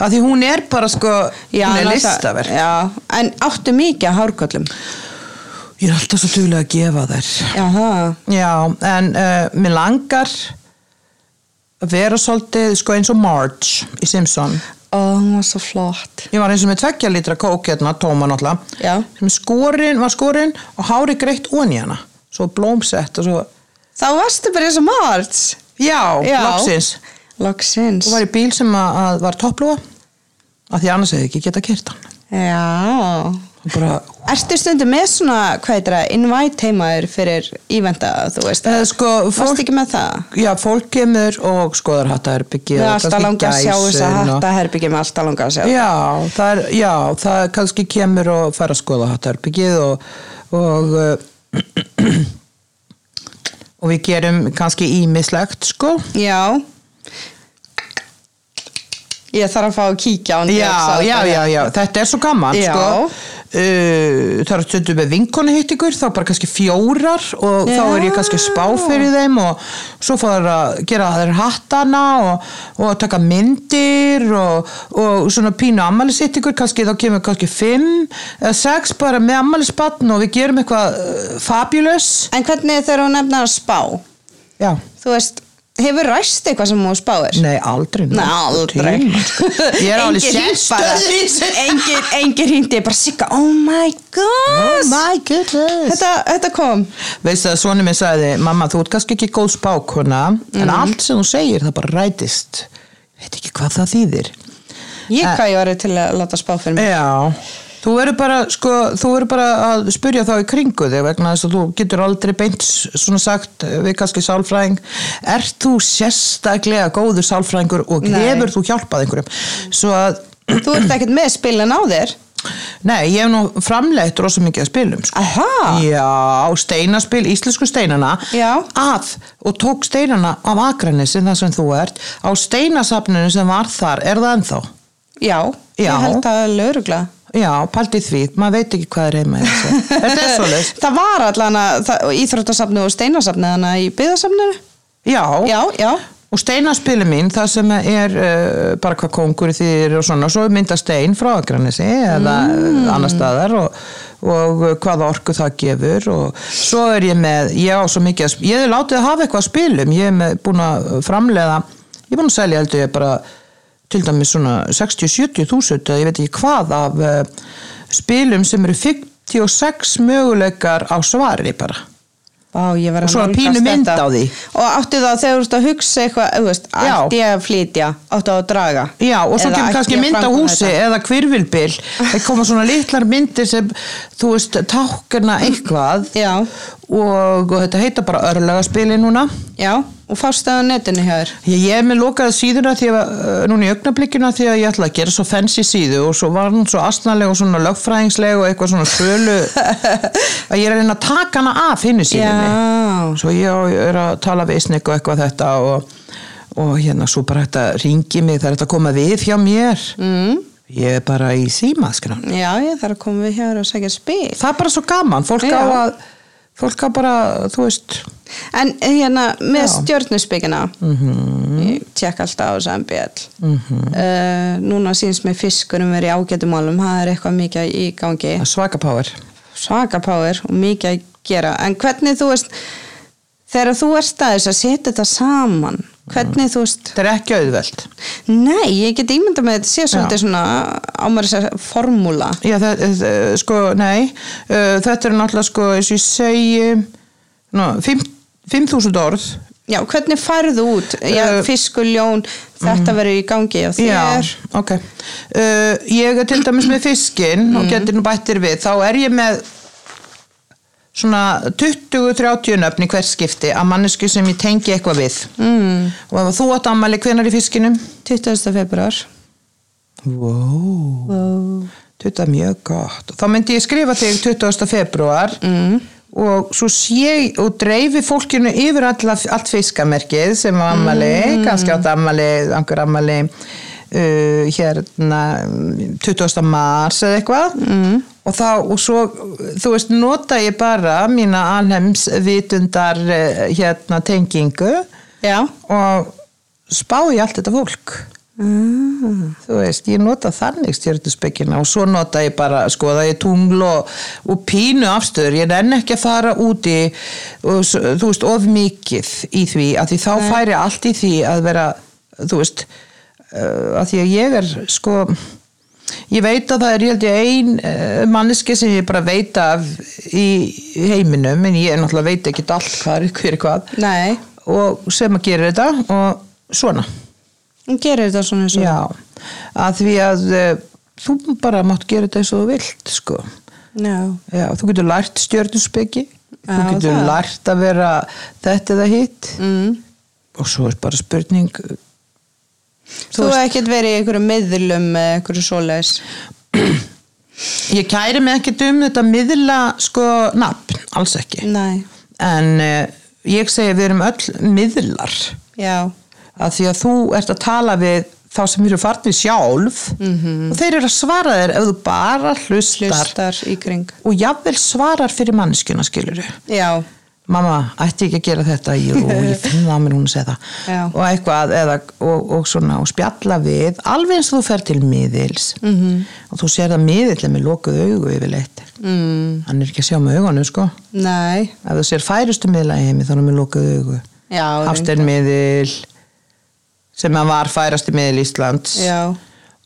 B: að því hún er bara sko hún er
C: náttúrulega-
B: listaverk
C: Já, en áttu mikið að hárköllum.
B: ég er alltaf svo duglega að gefa þær
C: Já, það.
B: Já, en uh, mér langar að vera svolítið sko eins og Marge í Simpson.
C: Ó, hún var svo flott.
B: Ég var eins og með tveggja litra kók hérna, tóma náttúrulega.
C: Já.
B: Sem skorinn var skorinn og hári greitt ón í hana. Svo blómsett og svo,
C: Þá varstu bara eins og margt.
B: já, já. loksins.
C: Loksins.
B: Og var í bíl sem að, að var topplúa. Af því annars hefði ekki geta kert hann.
C: Já.
B: Og bara,
C: Ertu stundum með svona, hvað heitir það, invite heimaður fyrir ívenda, þú veist?
B: eða sko,
C: Varstu
B: fólk,
C: ekki með það?
B: já, fólk kemur og skoðar hattaherbyggi.
C: Við erum alltaf langa að sjá þess að hatta herbyggi með alltaf langa að sjá.
B: Já, það er, já, það er kannski kemur og fara að skoða hattaherbyggið og, og uh, og við gerum kannski ímislegt, sko
C: Já. Ég þarf að fá að kíkja á hann.
B: Já, já, já, já, þetta er svo gaman,
C: Já.
B: sko uh, Það er stundum með vinkonu hitt ykkur, þá bara kannski fjórar og þá er ég kannski að spá fyrir þeim og svo fóður að gera þeir hattana og, og taka myndir og, og svona pínu ammælis hitt ykkur, kannski þá kemur kannski fimm eða sex bara með ammælisbatn og við gerum eitthvað uh, fabulous
C: En hvernig þegar hún nefnar að spá?
B: Já,
C: Þú veist, hefur ræst eitthvað sem hún spáir?
B: nei, aldrei
C: Nei, aldrei
B: tíma, sko. Ég er alveg sérstöður í þessu.
C: Engin, engin hindi, bara sigga Oh my god
B: Oh my goodness
C: þetta, þetta kom
B: veist að svonum minn sagði mamma þú ert kannski ekki góð spákona en allt sem þú segir það bara rætist veit ekki hvað það þýðir
C: Ég
B: Eh.
C: hvað ég var til að láta spá fyrir mig
B: já þú verður bara, sko, þú verður bara að spyrja þá í kringu þig vegna þess að þú getur aldrei beint s- svona sagt við kannski sálfræðing ert þú sérstaklega góður sálfræðingur og
C: Nei.
B: hefur þú hjálpað einhverjum svo að
C: Þú ert ekkert með spilin á þér
B: Nei, ég hef nú framleitt rosa mikið að spilum sko.
C: Aha.
B: Já, steinaspil, íslensku steinana
C: Já.
B: Af, og tók steinana af Akranesi, þar sem þú ert Á steinasafninu sem var þar, er það ennþá?
C: Já,
B: Já.
C: ég held að lögregla
B: Já, paldið því, maður veit ekki hvað er heima í þessu. Þetta er svoleiðis
C: Það var allan að Íþróttasafnu og steinasafnu Þannig að í byðasafnu
B: Já,
C: Já, já,
B: og steinaspilum mín, það sem er uh, bara hvað kongur þýðir og svona Svo mynda stein frá Akranesi eða mm. annar staðar og, og eh, hvaða orku það gefur og svo er ég með, ég á svo mikið að sp- ég hef látið að hafa eitthvað að spilum ég hef með- búin að framleiða ég er búin að selja heldur ég bara til dæmis svona 60-70 þúsund eða ég veit ekki hvað af uh, spilum sem eru 56 möguleikar á svari bara
C: Vá, ég var
B: Og
C: að
B: svona
C: nálgast
B: pínu mynd
C: þetta.
B: á því.
C: Og áttu það þegar þú ert að hugsa eitthvað þú veist,
B: Já.
C: Ætti ég að flytja, áttu að draga
B: Já, og svo
C: Eða
B: kemur
C: ætti
B: kannski
C: ég að
B: mynd á
C: framkvæma
B: húsi
C: þetta?
B: eða kvirvilbil. Það koma svona litlar myndir sem, þú veist, tákna eitthvað
C: Já.
B: og, og þetta heita bara örlagaspili núna.
C: Já, og fástu það á netinu hjá þér
B: Ég, ég er með lokaði síðuna því að, eh, núna í augnablikina því að ég ætlaði að gera svo fancy síðu og svo var hún svo astnaleg og svona lögfræðingsleg og eitthvað svona sölu að ég er að reyna að taka hana af hinni síðunni.
C: Já,
B: svo ég á- er að tala við snygg og eitthvað þetta og, og hérna svo bara þetta ringi mig það er þetta að koma við hjá mér mm. ég er bara í símaskran
C: Já, ég þarf að koma við hér og segja spil.
B: það er bara svo gaman, fólk
C: Já.
B: á að fólk á bara, þú veist
C: En hérna, með
B: Já.
C: stjórnusbyggina, ég tek alltaf á þessu MBL. Mm núna síns með fiskurum verið í ágætumálum, það er eitthvað mikið í gangi.
B: svakapáir
C: svaka power og mikið að gera en hvernig þú veist þegar þú ert að þess að setja þetta saman hvernig þú veist
B: þetta er ekki auðveld
C: nei, ég get ímynda með þetta sé svolítið svona á maður þess að formúla
B: Já, það, það, sko, nei, uh, þetta er náttúrulega, sko, eins og ég segi, ná, fimm- 5.000 orð,
C: já, hvernig færðu út, já,
B: Eh,
C: fiskur, ljón þetta verður í gangi á þér
B: mm. Já, ok. Uh, ég er til dæmis með fiskinn og getur nú bættir við, þá er ég með svona 20-30 nöfn í hvert skipti af mannesku sem ég tengi eitthvað við. Mm. Og ef þú átt ammæli hvenar í fiskinum?
C: 20. februar
B: Wow.
C: wow.
B: Þetta er mjög gott. Þá myndi ég skrifa þig 20. februar mm. og svo sé og dreifi fólkinu yfir all, allt fiskamerkið sem á ammali, kannski átt ammali, angur ammali uh, hérna mm, 20. mars eða eitthvað mm. og þá, og svo, þú veist, nota ég bara mína alheimsvitundar uh, hérna tengingu
C: já,
B: og spá í allt þetta fólk
C: Ah.
B: þú veist, ég nota þannig stjörnuspekina og svo nota ég bara skoða ég tungl og, og pínu afstöður, ég nenn ekki að fara úti og, s- þú veist, of mikið í því, að því þá færi allt í því að vera, þú veist uh, að því að ég er sko ég veit að það er ég held ég ein uh, manneski sem ég bara veit af í heiminum en ég náttúrulega veit ekki allt hvað er hver er hvað
C: nei
B: og sem að gera þetta og svona
C: hún gerir þetta svona eins og
B: Já, að því að uh, þú bara mátt gera þetta eins og þú vilt sko.
C: já,
B: Já, þú getur lært stjörnusbyggi þú
C: Já,
B: getur
C: það.
B: lært að vera þetta eða hitt
C: Mm.
B: og svo er bara spurning
C: þú hefur ekkert verið í einhverju miðlum eða einhverju svoleiðis
B: ég kæri mig ekkert um þetta miðla sko nafn, alls ekki
C: nei,
B: en uh, ég segi við erum öll miðlar
C: já,
B: að því að þú ert að tala við þá sem eru farnir sjálf og þeir eru að svara þér ef þú bara Mhm. hlustar,
C: hlustar í kring
B: og jafnvel svarar fyrir manneskjuna skilur þau
C: já,
B: mamma, ætti ekki að gera þetta jú, ég finn það á mér hún að segja það
C: Já.
B: og eitthvað, eða, og, og svona og spjalla við, alveg eins og þú fer til miðils
C: Mhm.
B: -hmm. og þú sér það miðill er með lokuð augu yfirleitt
C: Mm,
B: hann er ekki að sjá með augunum sko
C: nei,
B: ef þú sér færustu miðla í heimi þá er hann með lokuð augu
C: já,
B: Hafstein miðil sem hann var færasti miðil Íslands
C: já,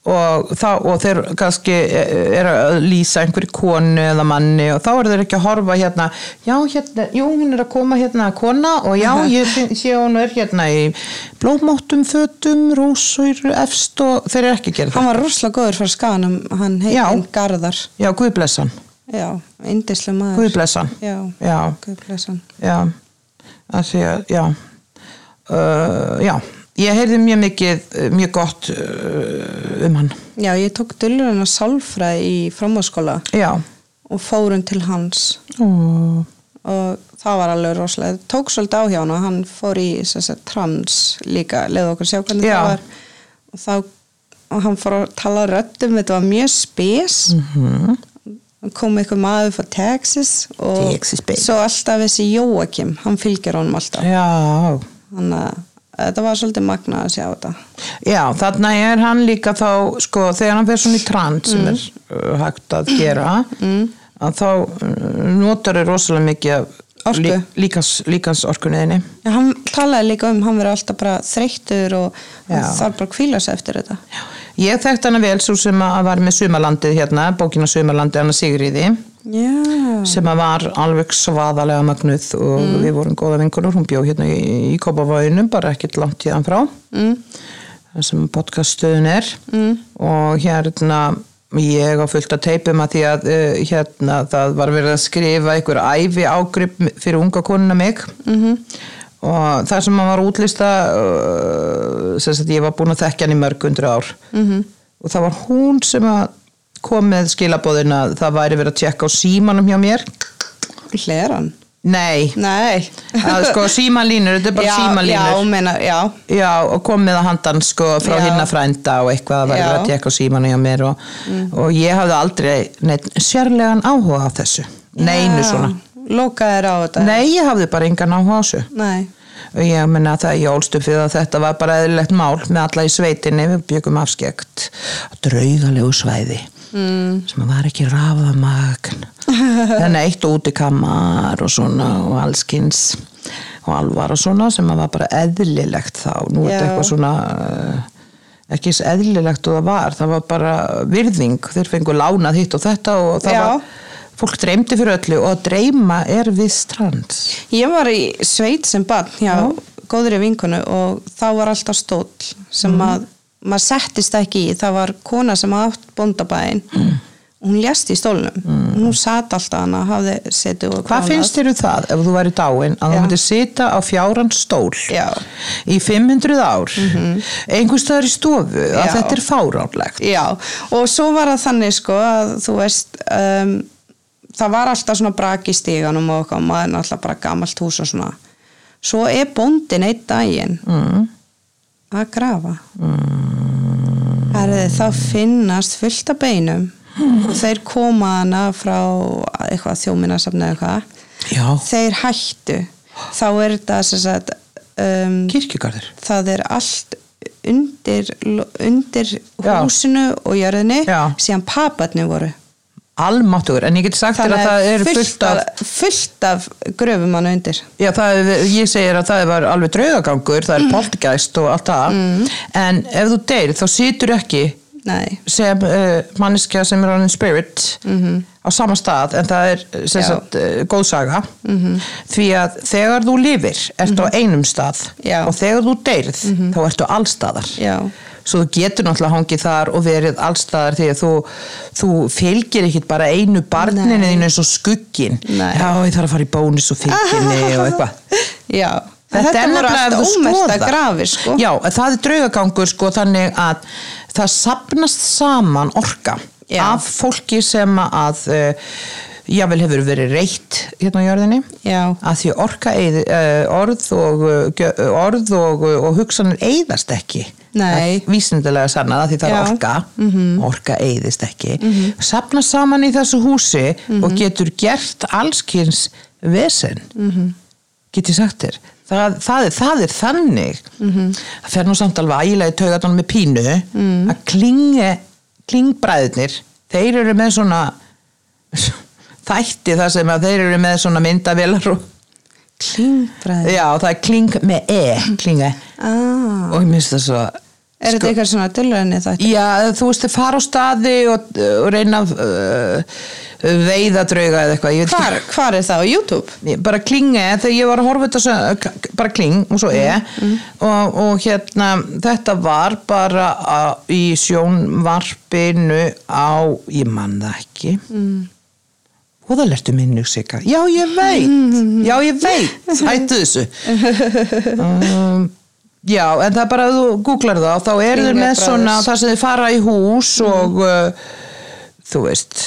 B: og, þá, og þeir kannski er að lýsa einhverju konu eða manni og þá eru þeir ekki að horfa hérna já, hérna, jú, hún er að koma hérna að kona og já,
C: Mhm.
B: ég finn- sé að hún er hérna í blómáttum, fötum, rósur, efst og þeir eru ekki að gera
C: hann
B: það
C: var rosalega góður fyrir skanum, hann
B: Já.
C: heitinn Garðar,
B: já, Guð bless hann,
C: já, indislu maður,
B: Guð bless hann
C: já,
B: já,
C: Guð bless hann,
B: já, að því að, já uh, já, ég heyrði mjög mikið, uh, mjög gott uh, um hann,
C: já, ég tók dullurinn að sálfræði í framháskóla
B: já
C: og fórum til hans
B: og
C: og það var alveg rosalega, það tók svolítið á hjá hann og hann fór í sem sagt, trans líka, leiði okkur sjá hvernig
B: Já.
C: það var og þá og hann fór að tala röddum, þetta var mjög spes
B: Mhm.
C: -hmm. kom einhver maður frá Texas og
B: Texas, baby.
C: svo alltaf þessi Jóakim, hann fylgir honum alltaf
B: já,
C: þannig að eh, þetta var svolítið magnað að sjá þetta
B: Já, þarna er hann líka þá, sko, þegar hann fer svona í trant sem er uh, hægt að gera, að þá uh, notar er rosalega mikið af
C: Orku.
B: líkans, líkans orkunniðinni.
C: En hann talaði líka um, hann verið alltaf bara þreyttur og hann
B: Já.
C: þarf bara að kvíla sig eftir þetta
B: Ég þekkt hana vel svo sem að var með Sumalandið hérna, bókina Sumalandið hana Sigriði,
C: Já,
B: sem að var alveg svaðalega magnuð og við vorum góða vingunur, hún bjó hérna í, í Kópavöginum, bara ekkert langt hérna frá.
C: mm.
B: þar sem podcaststöðun er og hérna ég á fullt að teipum að því að uh, hérna það var verið að skrifa einhver æfi ágrip fyrir unga konuna mig -hmm. og þar sem hann var að útlista uh, sem sagt ég var búin að þekkja hann í mörg hundru ár -hmm. og það var hún sem að kom með skilabóðin að það væri verið að tjekka á símanum hjá mér
C: hler hann
B: Nei,
C: Nei
B: að sko símalínur, þetta er bara
C: já,
B: símalínur
C: Já, meina, já
B: Já, og komið að handan sko frá
C: Já.
B: hinna frænda og eitthvað að verður
C: Já. Mm.
B: að tekka símanu hjá mér og, og ég hafði aldrei neitt sérlegan áhuga á þessu neinu svona
C: Lókaðir á þetta
B: Nei, ég hafði bara engan áhuga á þessu
C: Nei.
B: og ég menna að það ég ólst upp við að þetta var bara eðlilegt mál með alla í sveitinni við byggum afskekt draugalegu svæði mm. sem var ekki rafamagn þannig eitt og út í kammar og svona og allskins og alvar og svona sem var bara eðlilegt þá, nú er
C: Já.
B: þetta eitthvað svona eh, ekki eins eðlilegt og það var, það var bara virðing þeir fengu lánað hitt og þetta og það
C: Já.
B: var fólk dreymdi fyrir öllu og að dreyma er við strands
C: Ég var í sveit sem barn já, góðri vinkonu og þá var alltaf stóll sem
B: Mhm.
C: að maður settist ekki í, það var kona sem átt bóndabæin mm. hún ljast í stólnum, mm. hún satt alltaf hana, hafði setið og
B: Hvað
C: gránað.
B: finnst þér um það ef þú væri dáin að þú
C: Já.
B: myndir sita á fjáran stól
C: Já.
B: í 500 ár mm -hmm. einhvers staðar í stofu að
C: Já.
B: þetta er fáránlegt
C: Já, og svo var það þannig sko að þú veist um, það var alltaf svona brak í stíganum og okkar, maður er náttúrulega bara gamalt hús og svona. Svo er bóndin einn daginn
B: mm.
C: að grafa mm. þá finnast fullt af beinum og þeir koma hana frá eitthvað þjóminasafni eða eitthvað
B: Já,
C: þeir hættu þá er þetta sem sagt um,
B: kirkjugarður
C: það er allt undir, undir
B: Já.
C: húsinu og jörðinni
B: Já.
C: síðan paparnir voru
B: Almáttugur, en ég get sagt þér að það er fullt af
C: fullt af gröfum hann undir
B: Já, það, er- ég segir að það var alveg draugagangur, það er mm. og allt það en ef þú deyr þá situr ekki
C: Nei.
B: sem uh, manneskja sem er on spirit á sama stað en það er sem
C: Mhm. Já. Mhm.
B: sagt uh, góðsaga því að þegar þú lifir ertu á einum stað
C: Já. Mhm.
B: og þegar þú deyrð þá ertu allstaðar
C: Já.
B: svo þú getur náttúrulega hangið þar og verið allstaðar því að þú, þú fylgir ekkit bara einu barninu
C: Nei.
B: þínu eins og skuggin
C: Nei.
B: já ég þarf að fara í bónus og fylginni og eitthvað
C: Já.
B: Þetta,
C: þetta
B: er
C: voru
B: nefnilega ef
C: alltaf
B: þú
C: ómesta
B: skoðar.
C: grafir sko.
B: Já, en það er draugagangur sko þannig að það sapnast saman orka
C: Já.
B: af fólki sem að uh, jável hefur verið reitt hérna á jörðinni
C: Já.
B: að því orka eð, uh, orð og, uh, gjö- orð og, eh, og hugsanir eyðast ekki
C: Nei.
B: Það er vísindilega sannað að því það
C: Já. Mhm.
B: er orka orka eyðist ekki mm sapnast saman í þessu húsi
C: Mhm.
B: og getur gert allskins vesen
C: Mhm.
B: get ég sagt þér það, það, er, það er þannig
C: Mhm.
B: það fer nú samt alveg ægilega í taugatunum með pínu að klinge klingbræðnir, þeir eru með svona þætti þar sem að þeir eru með svona myndavélar og
C: Klingfræði
B: já, það er kling með e klinga,
C: ah.
B: og ég minnst það svo
C: Er
B: Sko-
C: þetta eitthvað svona dulræni þetta?
B: Já, þú veist, þau fara á staði og, og reyna að uh, veiða drauga eða eitthvað. Ég veit
C: Hvar, hvar er það á YouTube?
B: Ég- bara klinge þegar ég var að horfa þetta sö- k- k- bara kling og svo e og, og hérna þetta var bara á, í sjónvarpinu á ég man það ekki mm. og það lertu minnu sigga já ég veit, já ég veit hættu þessu um, já en það er bara að þú googlar það og þá eru þau með
C: Klingebræðs.
B: svona það sem þau fara í hús og uh, þú veist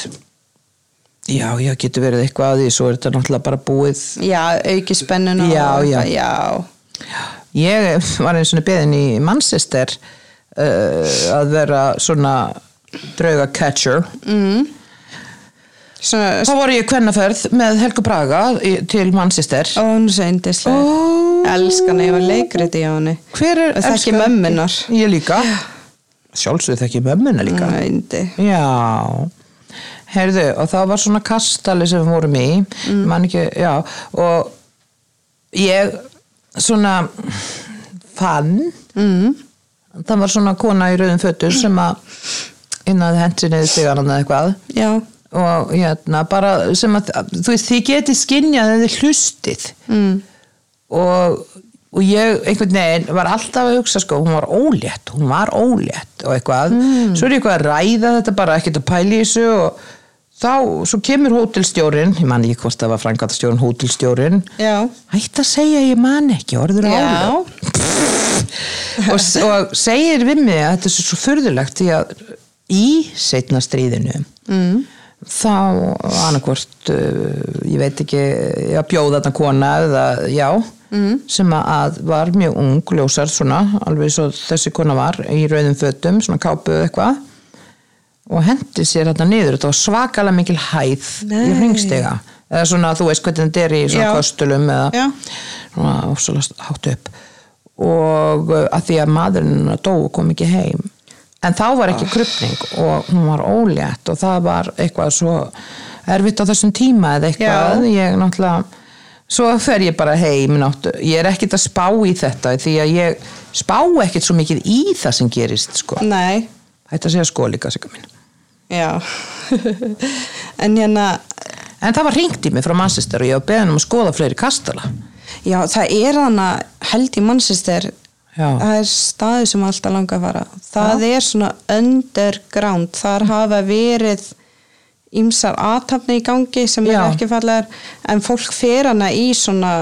B: já já getur verið eitthvað að því svo er þetta náttúrulega bara búið
C: Já, auki spennuna og
B: Já, já.
C: eitthvað, já.
B: ég var einu svona beðin í Manchester uh, að vera svona drauga catcher
C: Svona,
B: þá voru ég kvennaferð með Helgu Braga í, til Manchester
C: ó, hún er svo yndislega
B: Ó.
C: Elskan að ég var leikriti á henni
B: hver er
C: Og þekki
B: elskan-
C: mömmunar.
B: ég líka sjálfsög þekki mömmuna líka
C: Hún er yndi
B: Já, heyrðu, og það var svona kastali sem við vorum í, mm. mann ekki, já, og ég svona fann,
C: mm.
B: það var svona kona í rauðum fötur sem að innan hensinni stigaran eða eitthvað
C: Já,
B: og hérna bara sem að þú veist þið getið skinjað eða þið hlustið mm. og, og ég einhvern veginn var alltaf að hugsa sko, hún var ólétt hún var ólétt og eitthvað svo er ég eitthvað að ræða þetta bara ekkert að pæla í þessu og þá, svo kemur hótelstjórin ég man ekki hvort það var frangatastjórin hótelstjórin
C: já
B: hætt að segja ég man ekki orður álög
C: Já,
B: og, og segir við mig að þetta er svo furðulegt því að í setna stríðinu mm. þá annarkvort uh, ég veit ekki, já, bjóða þarna kona eða já
C: Mm.
B: sem að var mjög ung, ljósar svona, alveg svo þessi kona var í rauðum fötum, svona kápuð eitthvað og hendi sér þetta niður þetta var svakalega mikil hæð í
C: Nei.
B: hringstega eða svona þú veist hvernig þetta er í svona
C: Já.
B: kostulum eða
C: Já.
B: svona ofsalast hátt upp og uh, að því að maðurinn hennar dó og kom ekki heim en þá var ekki krupning og hún var ólétt og það var eitthvað svo erfitt á þessum tíma eða eitthvað ég náttúrulega svo fer ég bara heim náttu. ég er ekkit að spá í þetta því að ég spá ekkit svo mikið í það sem gerist sko.
C: Nei,
B: þetta segja sko líka sigga mín
C: já. en hérna,
B: en það var hringt í mig frá Manchester og ég var beðin um að skoða fleiri kastala
C: já, það er hana held í mannsistir,
B: já,
C: það er staði sem alltaf langa að fara. Það er svona underground, þar hafa verið ýmsar aðtapni í gangi sem er
B: Já.
C: ekki fallegar, en fólk fer hana í svona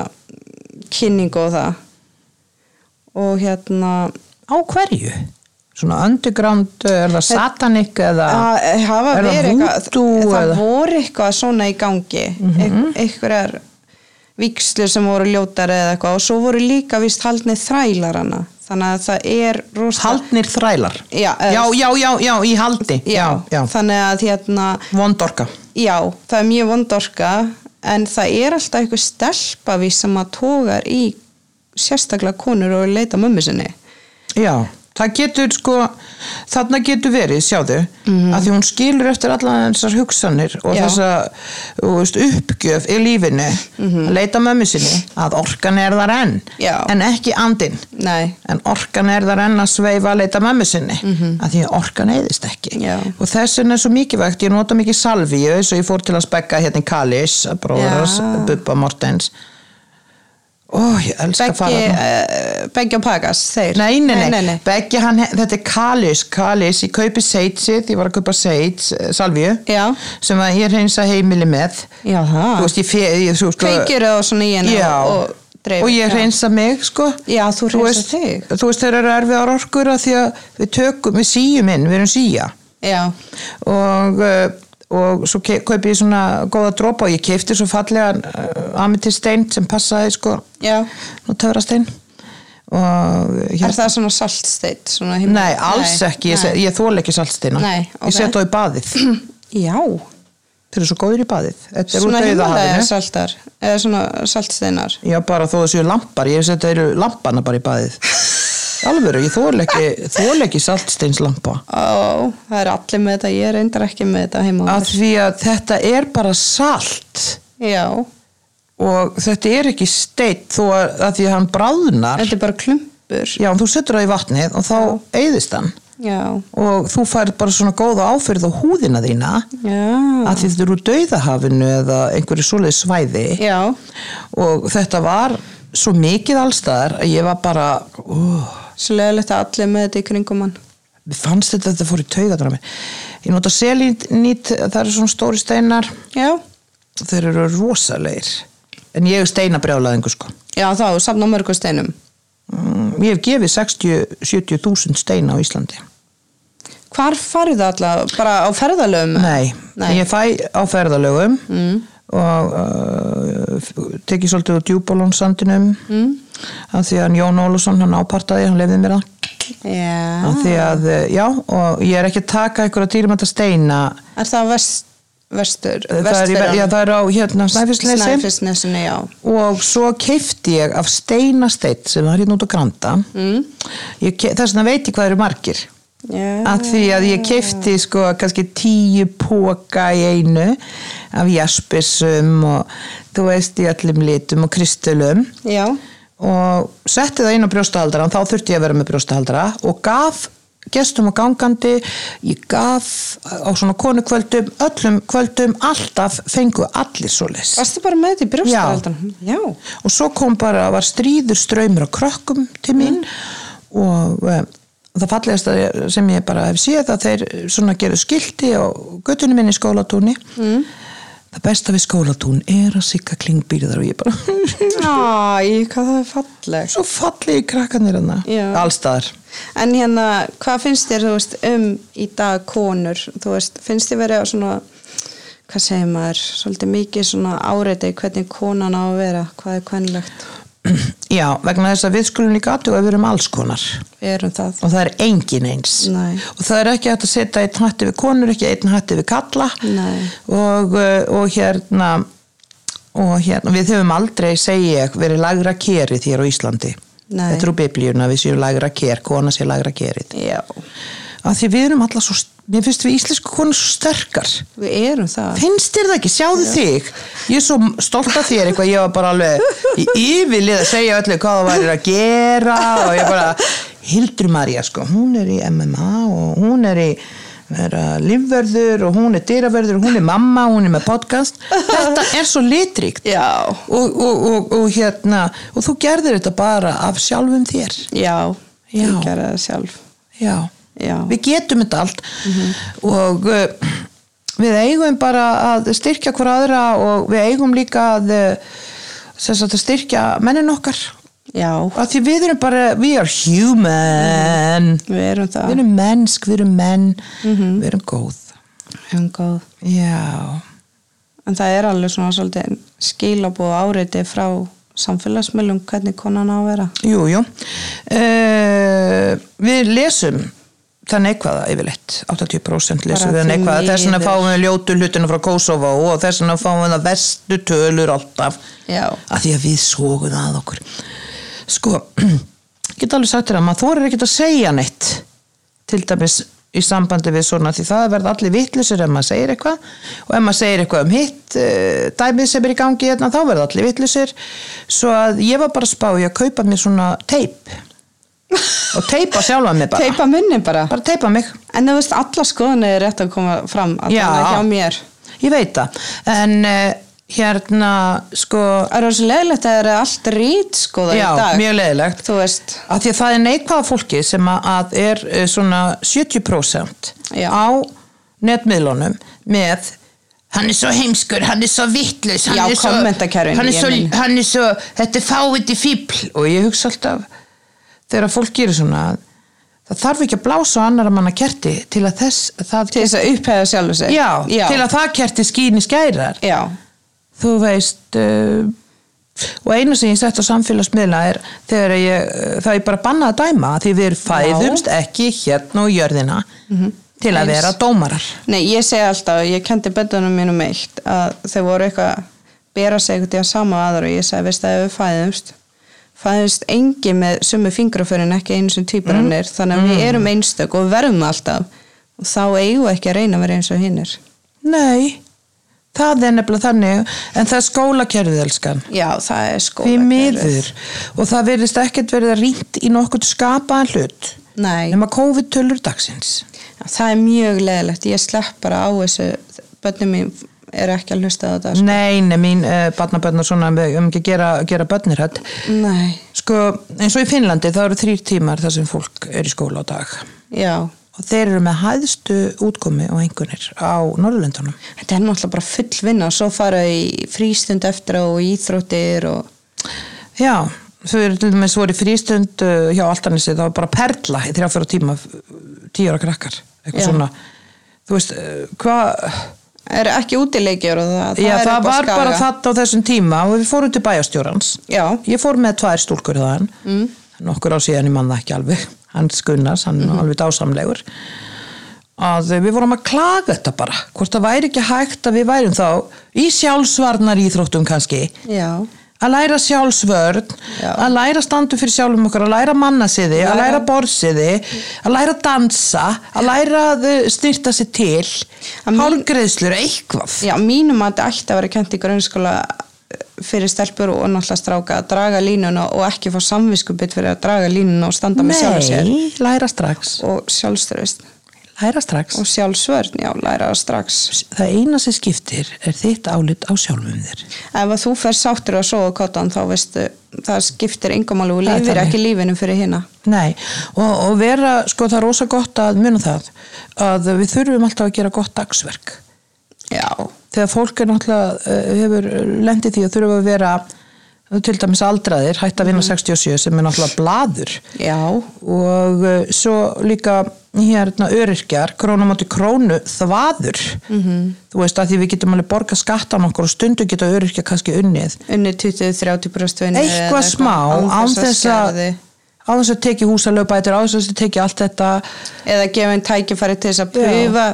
C: kynningu og það. Og hérna,
B: á hverju? svona underground, er það satanic eða
C: Það hafa
B: er
C: verið
B: það
C: eitthvað,
B: voodoo
C: það
B: eða Mhm.
C: voru eitthvað svona í gangi, mm einhverjar vikslur sem voru ljótar eða eitthvað og svo voru líka vist haldnið þrælar hana, þannig að það er rosa...
B: haldnir þrælar
C: Já, eða-
B: já, já, já, já, í haldi
C: Eh, Já,
B: já, já,
C: þannig að hérna,
B: vondorka
C: já, það er mjög vondorka en það er alltaf eitthvað stelpa við sem að tógar í sérstaklega konur og leita mömmu sinni.
B: já, það getur sko þarna getur verið, sjáðu að því hún skilur eftir allan þessar hugsanir og
C: Mhm. Já.
B: þessa þú veist, uppgjöf í lífinu að leita mömmu sinni, að orkan er þar enn
C: Mhm. Já.
B: en ekki andinn
C: Nei,
B: en orkan er þar enn að sveifa að leita mömmu sinni að því að orkan eðist ekki
C: Mhm. Já.
B: og þess vegna er svo mikilvægt, ég nota mikið salvíu eins og ég fór til að spekka hérna í Kalis bróðurars,
C: Já.
B: Bubba Mortens ó, ég elska að fara
C: beggi,
B: þarna.
C: uh, beggi og pagas, þeir.
B: Nei, nei, nei, Beggi hann, þetta er Kalis, Kalis, ég kaupi seitsið, ég var að kaupa seits, eh, salvíu,
C: Já.
B: sem að ég reynsa heimili með.
C: Já, það.
B: Þú veist, ég fe, ég, þú sko,
C: kveikir og svona í henni
B: já,
C: og, og dreifir
B: ég reynsa mig, sko.
C: Já,
B: Þú
C: þú hreinsar
B: veist,
C: þig.
B: Þú veist, þeir eru erfiðar orkur að því að við tökum, við síjum inn, við erum síja.
C: já,
B: Og, eh, og svo ke- kaupi ég svona góða dropa og ég keipti svo fallega uh, amitistein sem passaði, sko,
C: já.
B: og töfrastein. Og, hérna-
C: er það svona saltsteitt svona himna-
B: Nei, alls ekki, ég, se- ég þóla ekki saltstina
C: Nei, ok.
B: Ég set þá í baðið
C: já,
B: Þeir eru svo góður í baðið Þetta er úr
C: svona himalega
B: dauðahafinu
C: saltar eða svona saltsteinar
B: Já, bara þó þessu lampar, ég set þeir eru lampana bara í baðið Alvöru, ég þóla ekki, þóla ekki saltsteinslampa
C: ó, það er allir með þetta, ég reyndar ekki með þetta heima á
B: Af
C: mér.
B: því að þetta er bara salt
C: já,
B: og þetta er ekki steitt þó að, að því að hann bráðnar
C: þetta er bara klumpur
B: Já, en þú setur það í vatnið og þá eyðist hann
C: já,
B: og þú færð bara svona góða áfyrð á húðina þína
C: já
B: að því þetta eru úr dauðahafinu eða einhverju svoleið svæði
C: já,
B: og þetta var svo mikið allstaðar að ég var bara uh,
C: svo leðilegt að allir með þetta í kringum hann
B: mér fannst þetta að þetta fór í taugatana mér ég nota selinít, það eru svona stóri steinar
C: já,
B: þeir eru rosalegir en ég er steinabrjálaðingu sko
C: já þá, safna mörgu steinum
B: Mm, ég hef gefið 60-70 þúsund steina á Íslandi
C: hvar farið það allar, bara á ferðalöfum
B: nei, Mm.
C: Nei.
B: ég fæ á ferðalögum og uh, tekið svolítið á djúbólónsandinum mm. af því að Jón Ólafsson hann ápartaði, hann lefði mér það
C: já,
B: ah. því að, eh, já, og ég er ekki að taka einhverja dýrmænta steina
C: Er það vest, vestur?
B: það er, í ver- já, það er á hérna Snæfisnesi
C: Snæfisnesinu, já.
B: og svo keifti ég af steinasteitt sem var hérna út á Granda mm. þess vegna veit ég hvað eru margir
C: já.
B: að því að ég keifti sko kannski tíu póka í einu af jaspissum og þú veist í allum litum og kristulum
C: Já,
B: og setti það inn á brjóstahaldaran þá þurfti ég að vera með brjóstahaldara og gaf gestum og gangandi ég gaf á svona konukvöldum öllum kvöldum alltaf fengu allir svo les
C: varstu bara með þetta í brjóstaraldan? Já.
B: og svo kom bara, var stríður ströymur á krökkum til mín og um, það fallegasta sem ég bara hef séð að þeir svona geru skilti á göttunum minni í skólatúni mm. það besta við skólatún er að sigga klingbýrðar og ég bara
C: Æ, hvað það er falleg.
B: svo fallegi krakkanir hana
C: Já.
B: allstaðar
C: En hérna, hvað finnst þér, þú veist, um í dag konur? Þú veist, finnst þér verið á svona hvað segir maður, svolítið mikið svona áreiti hvernig konan á að vera, hvað er kvenlegt
B: Já, vegna þess að við skulum líka aðtuga að við erum alls konar
C: við erum það
B: og það er engin eins
C: Nei.
B: og það er ekki hægt að setja einn hætti við konur, ekki einn hætti við kalla
C: Nei.
B: og, eh, og hérna og hérna, við höfum aldrei segja verið lagra kerið hér á Íslandi
C: Nei.
B: þetta er úr biblíuna, við séum lagra ker kona sé lagra kerið
C: Já,
B: að því við erum alla svo, mér finnst við íslensku konur svo sterkar
C: við erum það
B: finnst þér það ekki, sjáðu þig ég er svo stolt af þér eitthvað ég var bara alveg í yfirlið að segja öllu hvað það væri að gera og ég bara, Hildur Maria sko hún er í MMA og hún er í er að lífverður og hún er dyraverður og hún er mamma, hún er með podcast þetta er svo litríkt
C: Já,
B: og, og, og, og hérna og þú gerðir þetta bara af sjálfum þér
C: já,
B: Já.
C: ég gera það sjálf
B: já
C: Já,
B: við getum þetta allt og uh, við eigum bara að styrkja hver aðra og við eigum líka að, uh, sem sagt, að styrkja mennin okkar
C: já,
B: af því við erum bara, we are human
C: við erum
B: við
C: það
B: erum mennsk, við erum menn
C: Mhm.
B: við erum góð
C: Við erum góð
B: já,
C: En það er alveg svona svolítið skilabóð áreiti frá samfélagsmiðlum hvernig konan á að vera.
B: jú, jú uh, við lesum það neikvæða yfirleitt 80% lesum
C: Bara
B: við
C: því
B: neikvæða þess vegna
C: miður.
B: fáum við ljótu hlutinu frá Kosovo og þess vegna fáum við það vestu tölur alltaf
C: Já.
B: að því að við sógum að okkur sko, ég get alveg sagt þér að maður þorir ekkert að segja neitt til dæmis í sambandi við svona því það verða allir vittlisur ef maður segir eitthvað og ef maður segir eitthvað um hitt uh, dæmið sem er í gangi hérna þá verða allir vittlisur svo að ég var bara að spá ég að kaupa mér svona teip og teipa sjálfa mig bara
C: Teipa munni bara.
B: bara teipa mig
C: En þú veist, alla skoðunni er rétt að koma fram að
B: Já.
C: það er hjá mér.
B: ég veit það en uh, hérna sko
C: Það er svo leiðilegt að það eru allt rít skoða
B: já,
C: í dag.
B: mjög leiðilegt
C: Þú veist,
B: að því að það er neikvæða fólki sem að- að er eh, svona 70%
C: Já.
B: á netmiðlunum með hann er svo heimskur, hann er svo vittlaus hann,
C: Já,
B: er svo-
C: kommentakerfin,
B: hann, er
C: ég
B: svo-
C: meina.
B: hann er svo, þetta er fáviti fíbl og ég hugsa alltaf þegar fólk gerir svona það þarf ekki að blása á annara manna kerti til að þess, það
C: til þess að upphæða sjálfu sig.
B: já,
C: já.
B: til að það kerti skýni skærar
C: Já,
B: þú veist uh, og einu sem ég sett á samfélagsmiðla er þegar ég, það ég bara bannað að dæma því við fæðumst ekki hérna og jörðina til að
C: Mhm. Eins.
B: vera dómarar
C: nei, ég segi alltaf, ég kendi bönnunum mínum eitt að þau voru eitthvað að bera sig eitthvað til að sama aðra og ég segi, veist það ef við fæðumst, fæðumst engi með sumu fingraförin ekki einu sem týparannir,
B: Mhm.
C: þannig að við erum einstök og verðum það alltaf og þá eigum við ekki að reyna að vera eins og hinnir.
B: nei, það er nefnilega þannig en það er skólakerfið elskan
C: Já, það er sko skóla.
B: því miður og það verðist ekkert verið að rýnt í nokkuð skapaðan hlut
C: Nei.
B: nema COVID-tölur dagsins
C: Já, Það er mjög leðilegt, ég slepp bara á þessu, bönnum mín eru ekki að hlusta á þetta. sko.
B: nei, nei, mín uh, barnabönn og svona við um ekki að gera, gera bönnir hætt
C: Nei,
B: sko, eins og í Finnlandi það eru þrýr tímar þar sem fólk er í skóla á dag
C: já.
B: og þeir eru með hæðstu útkomi og einhvernir á Norðurlöndunum
C: Þetta er náttúrulega bara full vinna og svo fara í frístund eftir á og íþróttir og...
B: já, þau eru til dæmis voru í frístund uh, hjá Altanissi, það var bara perla í þrjáfjóra tíma, tíu ára krakkar eitthvað
C: Já.
B: svona þú veist, uh, hvað
C: Er ekki útileikjur og það,
B: já,
C: er
B: það
C: upp á
B: var
C: skaga.
B: bara þetta á þessum tíma og við fórum til bæjastjórans
C: Já,
B: ég fór með tvær stúlkur þaðan mm. nokkur á síðan ég mann það ekki alveg hans Gunnars, hann
C: Mhm.
B: er alveg dásamlegur að eh, við vorum að klaga þetta bara, hvort það væri ekki hægt að við værum þá í sjálfsvarnar íþróttum kannski,
C: já,
B: að læra sjálfsvörn
C: Já.
B: að læra standu fyrir sjálfum okkar að læra mannasiði, að læra borsiði að læra dansa að læra að eh, styrta sig til
C: Að mín-
B: hálgreðslur, eitthvað
C: já, mínum að þetta ætti að vera kent í grunnskóla eh, fyrir stelpur og náttúrulega stráka að draga línuna og ekki fá samviskubitt fyrir að draga línuna og standa með sjálf sér
B: nei, læra strax
C: og sjálfströðist
B: læra strax
C: og sjálfsvörn, já, læra það strax
B: það eina sem skiptir er þitt álit á sjálfum þér
C: ef að þú fer sáttur að sofa kottan þá veistu, það skiptir yngumáli og
B: Það er
C: lifir
B: þannig.
C: ekki lífinu fyrir hina
B: Nei, og, og vera, sko það er rosa gott að muna það að við þurfum alltaf að gera gott dagsverk
C: já,
B: þegar fólk er náttúrulega eh, hefur lendið því að þurfa að vera til dæmis aldraðir, hætt að vinna 67 sem er náttúrulega blaður
C: já,
B: og eh, svo líka hérna öryrkjar, krónum átti krónu þvaður, þú veist að því við getum alveg borga skattan okkur og stundu geta öryrkja kannski unnið
C: unni 20-30% vinnu eða
B: eitthvað smá án þess að
C: skerði.
B: á þess að teki húsalögbætur, á þess að teki allt þetta
C: eða gefa einn tækifæri til þess að
B: Já.
C: pröfa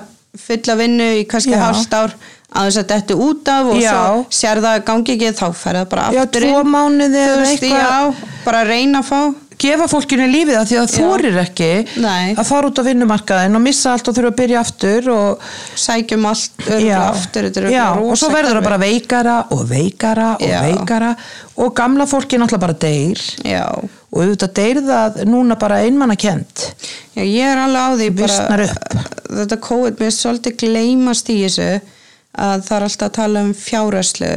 C: fulla vinnu í kannski
B: Já.
C: hálft ár að þess að dettu út af og
B: Já.
C: svo sér það að gangi ekki þá fer það bara
B: Já,
C: aftur
B: tvo
C: inn
B: mánuði
C: Þú
B: eða
C: veist,
B: eitthvað.
C: já, bara reyna að fá
B: gefa fólkinu lífið að því að þórir ekki
C: Nei.
B: að fara út á vinnumarkaðin og missa allt og þurfa að byrja aftur og,
C: sækjum um allt örugglega aftur þetta er
B: já,
C: örugglega
B: og svo
C: rosa
B: verður það
C: kerfi.
B: bara veikara og veikara og
C: Já.
B: veikara og gamla fólki náttúrulega bara deyr
C: já,
B: og auðvitað deyr það núna bara einmannakent
C: Já, ég er alveg á því
B: Visnar
C: bara,
B: upp.
C: þetta COVID mér er svolítið gleymast í þessu að það er alltaf að tala um fjáraslu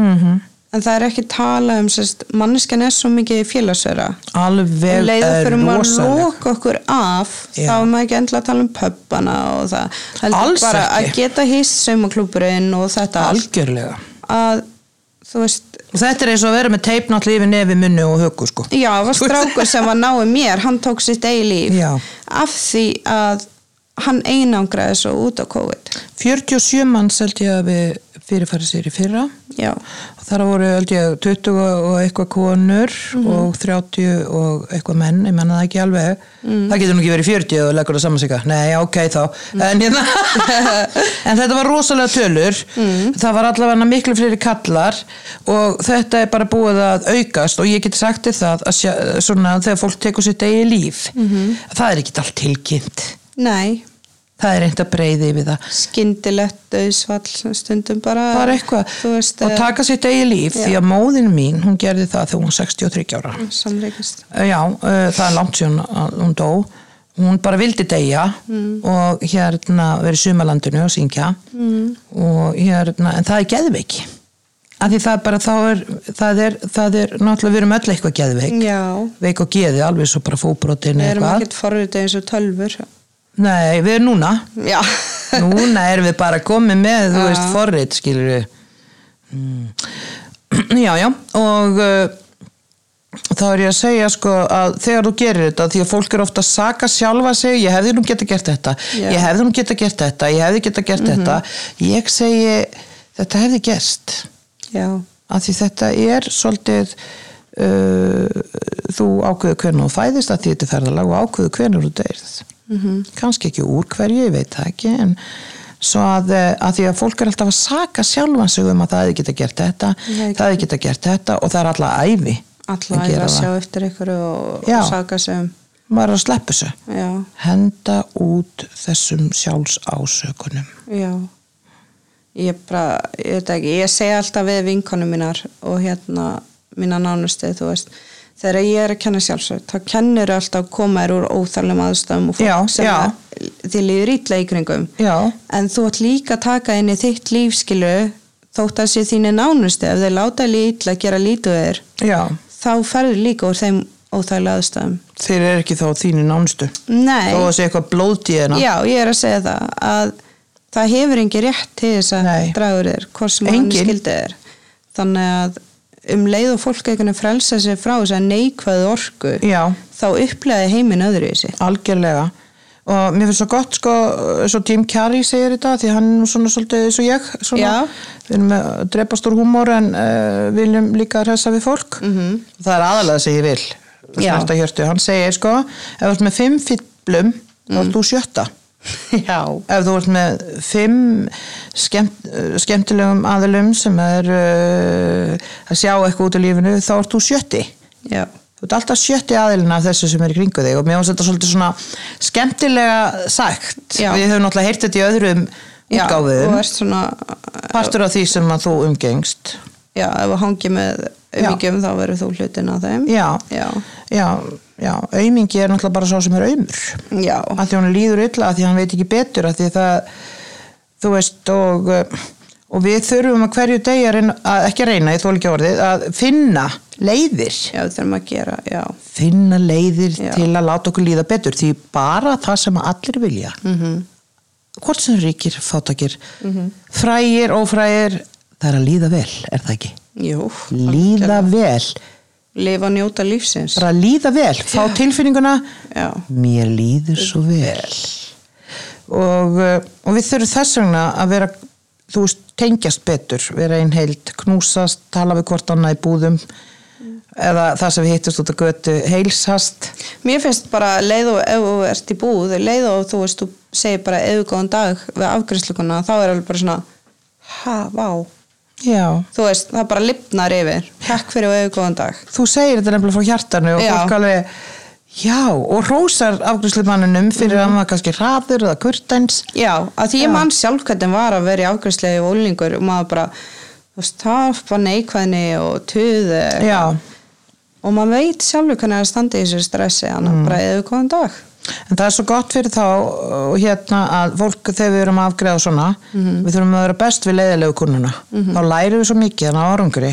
B: mm
C: en það er ekki að tala um sérst, manneskjan er svo mikið félagsverða
B: alveg
C: leiða fyrir
B: eh,
C: maður að
B: rosaleg
C: loka okkur af
B: Já.
C: þá er maður ekki endilega að tala um pöppana og það, heldur
B: Alls
C: bara
B: ekki.
C: að geta hýst saumaklúburinn og þetta allt
B: algjörlega
C: að þú veist,
B: og þetta er eins og að vera með teipnátt lífi nefi munnu og höku sko
C: já, það var strákur sem var náið mér, hann tók sitt eigi líf
B: Já.
C: af því að hann einangraði svo út á COVID
B: 47 manns held ég að við fyrirfæri sér í fyrra
C: já
B: og þar voru held ég 20 og eitthvað konur og 30 og eitthvað menn, ég menna það ekki alveg það getur nú ekki verið 40 og leggur það saman sig nei, ok þá en, hérna, en þetta var rosalega tölur það var allavega miklu fleiri kallar og þetta er bara búið að aukast og ég get sagt þér það að sjá, svona, þegar fólk tekur sitt eigi líf það er ekki allt tilkynnt
C: Nei,
B: það er reynd að breyði yfir það
C: skyndilegt döðsvall stundum bara
B: bara eitthvað
C: Þú veist,
B: og
C: eh,
B: taka sitt eigi líf því að móðin mín, hún gerði það þegar hún var 63 ára
C: samreikist
B: já, eh, það er langt síðan að hún dó hún bara vildi deyja
C: Mm.
B: og hérna verið sumalandinu og syngja
C: Mm.
B: og hérna, en það er geðveiki af því það er bara, þá er það er, það er, náttúrulega við erum öll eitthvað geðveik
C: Já,
B: veik og geði, alveg svo bara fóbrotin
C: við erum
B: eitthvað,
C: ekkert forrið eins og tölfur
B: nei, við erum núna
C: Já,
B: Núna erum við bara komið með, þú veist, forrið, skilur við. Mm. Já, já, og uh, þá er ég að segja, sko, að þegar þú gerir þetta, því að fólk er ofta að saka sjálfa sig, ég hefði nú geta gert þetta,
C: Já.
B: ég hefði nú geta gert þetta, ég hefði geta gert þetta, ég segi, þetta hefði gerst,
C: já,
B: að því þetta er svolítið, uh, þú ákveður hvernig þú fæðist að því þetta er ferðalag og ákveður hvernig þú deyrð
C: Mhm.
B: kannski ekki úr hverju, ég veit það ekki en svo að, eh, að því að fólk er alltaf að saka sjálfan sig um að það hefði geta gert þetta
C: Nei, ekki.
B: það hefði geta gert þetta og það er alltaf æfi
C: alla
B: að
C: að
B: gera
C: að sjá
B: það
C: eftir ykkur og,
B: Já.
C: og saka sem
B: maður er að sleppu þessu
C: Já,
B: henda út þessum sjálfsásökunum
C: já Ég bara, ég veit ekki, ég segi alltaf við vinkonum mínar og hérna mína nánustu, þú veist þegar ég er að kenna sjálfsög, þá kennir alltaf koma þér úr óþarlegum aðstæðum og fólk
B: Já,
C: sem
B: já.
C: að- þið líður ítla í kringum
B: já,
C: en þú ætti líka að taka inn í þitt lífskilu þótt að sé þínu nánustu ef þeir láta lítla að gera lítu þeir
B: já,
C: þá ferður líka úr þeim óþægilega aðstæðum
B: þeir eru ekki þá þínu nánstu
C: Nei,
B: þó að sé eitthvað blóðtíðina
C: já, ég er að segja það að það hefur engi rétt til þess að
B: Nei.
C: dragur þér hvort sem hann
B: Enginn.
C: skildið er þannig að um leið og fólk einhvern veginn frelsa sér frá þess að neikvæðu orku
B: já,
C: þá upplegaði heiminn öðru í sig
B: algjörlega og mér finnst svo gott sko svo Jim Carrey segir þetta því hann er nú svona svolítið eins og ég svona,
C: Já.
B: við erum að drepa stór húmór en uh, viljum líka að hressa við fólk -hmm. það er aðalega sem ég vil
C: Mhm. Já.
B: snarta hjörtu, hann segir sko ef þú ert með fimm fýllum þá ert þú sjötta
C: Mm. Já,
B: ef þú ert með fimm skemmt, eh, skemmtilegum aðilum sem er uh, að sjá eitthvað út í lífinu þá ert þú sjötti
C: já,
B: Þú ert alltaf sjötti aðilina af þessu sem er í kringu þig og mér finnst þetta svolítið svona skemmtilega sagt.
C: Já.
B: Við höfum náttúrulega heyrt þetta í öðrum
C: já
B: útgáfum,
C: og ert svona
B: partur af því sem að þú umgengst.
C: Já, ef að hangi með umíkjum þá verður þú hlutin að þeim.
B: Já,
C: Já,
B: já, já, aumingi er náttúrulega bara sá sem er aumur.
C: já,
B: Að því hann líður illa, að því hann veit ekki betur, að því það, þú veist, og, og við þurfum að hverju degi að reyna, að, ekki að reyna, ég þól ekki orðið, að finna leiðir.
C: já við þurfum að gera, já,
B: finna leiðir
C: Já.
B: til að láta okkur líða betur því bara það sem að allir vilja -hmm. hvort sem eru ríkir, fátakir frægir, ófrægir það er að líða vel, er það ekki?
C: jú.
B: líða vel
C: lifa og njóta lífsins
B: bara líða vel, fá tilfinninguna
C: Já.
B: mér líður svo vel og, uh, og við þurfum þess vegna að vera þú veist, tengjast betur vera einn heild, knúsast, tala við hvort annað í búðum Mm. eða það sem við hittust út að götu heilsast
C: Mér finnst bara leið og ef þú ert í búð, leið og þú veist, þú segir bara eða góðan dag við afgriðsluguna, þá er alveg bara svona, ha, vá,
B: já,
C: þú veist, það bara lipnar yfir, takk fyrir og eða góðan dag.
B: þú segir þetta nefnilega frá hjartanu og
C: Já.
B: fólk alveg já, og rósar afgjörslumanninum fyrir að maður kannski hraður eða kurtens
C: Já, að því ég mann sjálf hvernig var að vera í afgriðslegu og ólingur og maður bara, þú veist, það var bara neikvæðni og tuð eh,
B: já,
C: og maður veit sjálfur hvernig það er að standa í þessu stressi, þannig mm. bara eða góðan dag.
B: en það er svo gott fyrir þá og hérna að fólk þegar við erum að afgreða svona, við þurfum að vera best við leiðilegu kunnuna, þá lærum við svo mikið þannig á árangri,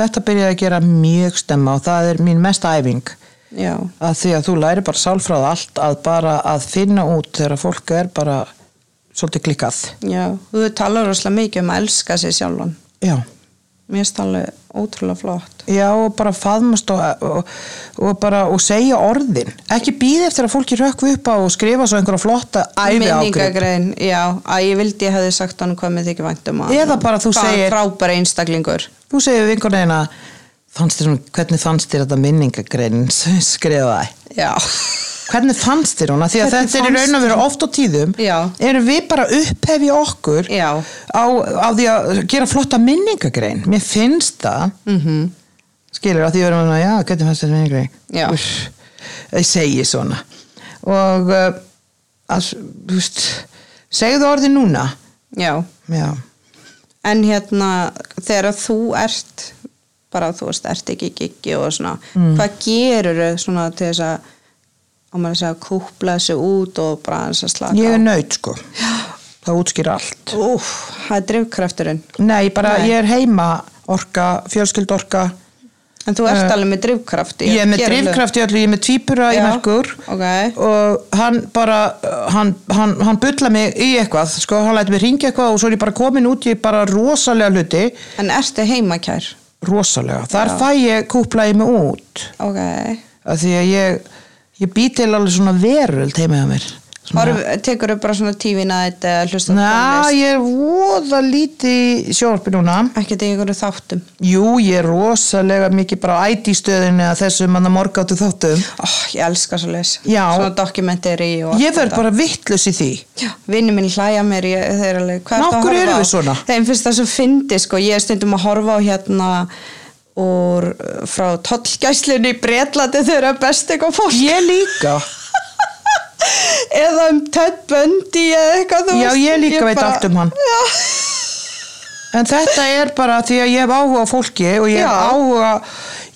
B: þetta byrjaði að gera mjög stemma og það er mín mesta æfing
C: Já,
B: að því að þú læri bara sálfráð allt að bara að finna út þegar fólk er bara svolítið klikkað
C: já, þú talar rosalega mikið um að elska sig sjálfan.
B: já
C: Mér finnst það alveg ótrúlega flott.
B: Já, og bara faðmast og, og, og bara og segja orðin. Ekki býða eftir að fólki rökkvi upp á og skrifa svo einhverja flotta æfi ágrip.
C: minningagrein, já, að ég vildi ég hefði sagt hann hvað með þykir vænt um að
B: Eða bara þú
C: Hvað
B: segir-
C: frábæra einstaklingur
B: Þú segir við einhvern veginn að fannst þér, hún- hvernig fannst þér þetta minningagrein sem ég skrifaði?
C: já,
B: Hvernig fannst þér hún? Af Því að
C: Hvernig
B: þetta er í raun og veru oft á tíðum.
C: Já.
B: Erum við bara að upphefi okkur
C: Já.
B: á, á því að gera flotta minningagrein? Mér finnst það. Mm
C: Mhm.
B: -hmm. Skilur að því verðum við að, já, hvernig fannst þér minningagrein?
C: Já.
B: Uss, ég segi svona. Og, uh, að, þú veist, segðu orðið núna.
C: já
B: Já.
C: en hérna, þegar þú ert bara þú veist, ert ekki í giggi og svona,
B: Mm.
C: hvað gerur svona til þess að á maður að segja, kúpla þessu út og bara hans að slaka
B: Ég
C: á?
B: er nöyt, sko. Það útskýr allt.
C: Úff, það er drifkrafturinn
B: Nei, bara
C: Nei.
B: ég er heima orka, fjölskyld orka.
C: en þú ert alveg með drifkraft í
B: Eh, Ég
C: að
B: er með
C: gera hlut.
B: drifkraft í öllu, ég er með tvípura í
C: Já,
B: merkur
C: ok.
B: og hann bara, uh, hann, hann, hann bulla mig í eitthvað, sko, hann læti mig ringja eitthvað og svo er ég bara komin út í bara rosalega hluti,
C: en ertu heimakær
B: rosalega, þar fæ ég kúplaði mig út,
C: ok,
B: af því að ég, ég bý til alveg svona veröld heima hjá mér. Svona-
C: Horf, tekur bara svona tífina þetta hlusta á
B: Ná, ég er voða lítið í sjónvarpi núna.
C: ekkert í einhverju þáttum
B: Jú, ég er rosalega mikið bara á IT-stöðinu að þessum manna morgáttu þáttum.
C: oh, ég elska svo leis
B: Já.
C: svona dokumentari og allt
B: Ég verð
C: þetta.
B: bara vittlus í því.
C: Já, vinnu minn hlæja mér ég, þeir eru alveg, hvað
B: Ná,
C: ertu að
B: af hverju
C: horfa
B: erum
C: á?
B: við svona?
C: þeim finnst það svo fyndi sko ég er stundum að horfa á hérna úr, frá tollgæslinu í bretlandi þau eru að best eitthvað fólk
B: Ég líka.
C: eða um Ted Bundy eða eitthvað þú
B: Já,
C: veist.
B: ég líka veit
C: bara-
B: allt um hann.
C: já,
B: En þetta er bara því að ég hef áhuga á fólki og ég hef
C: Já.
B: áhuga,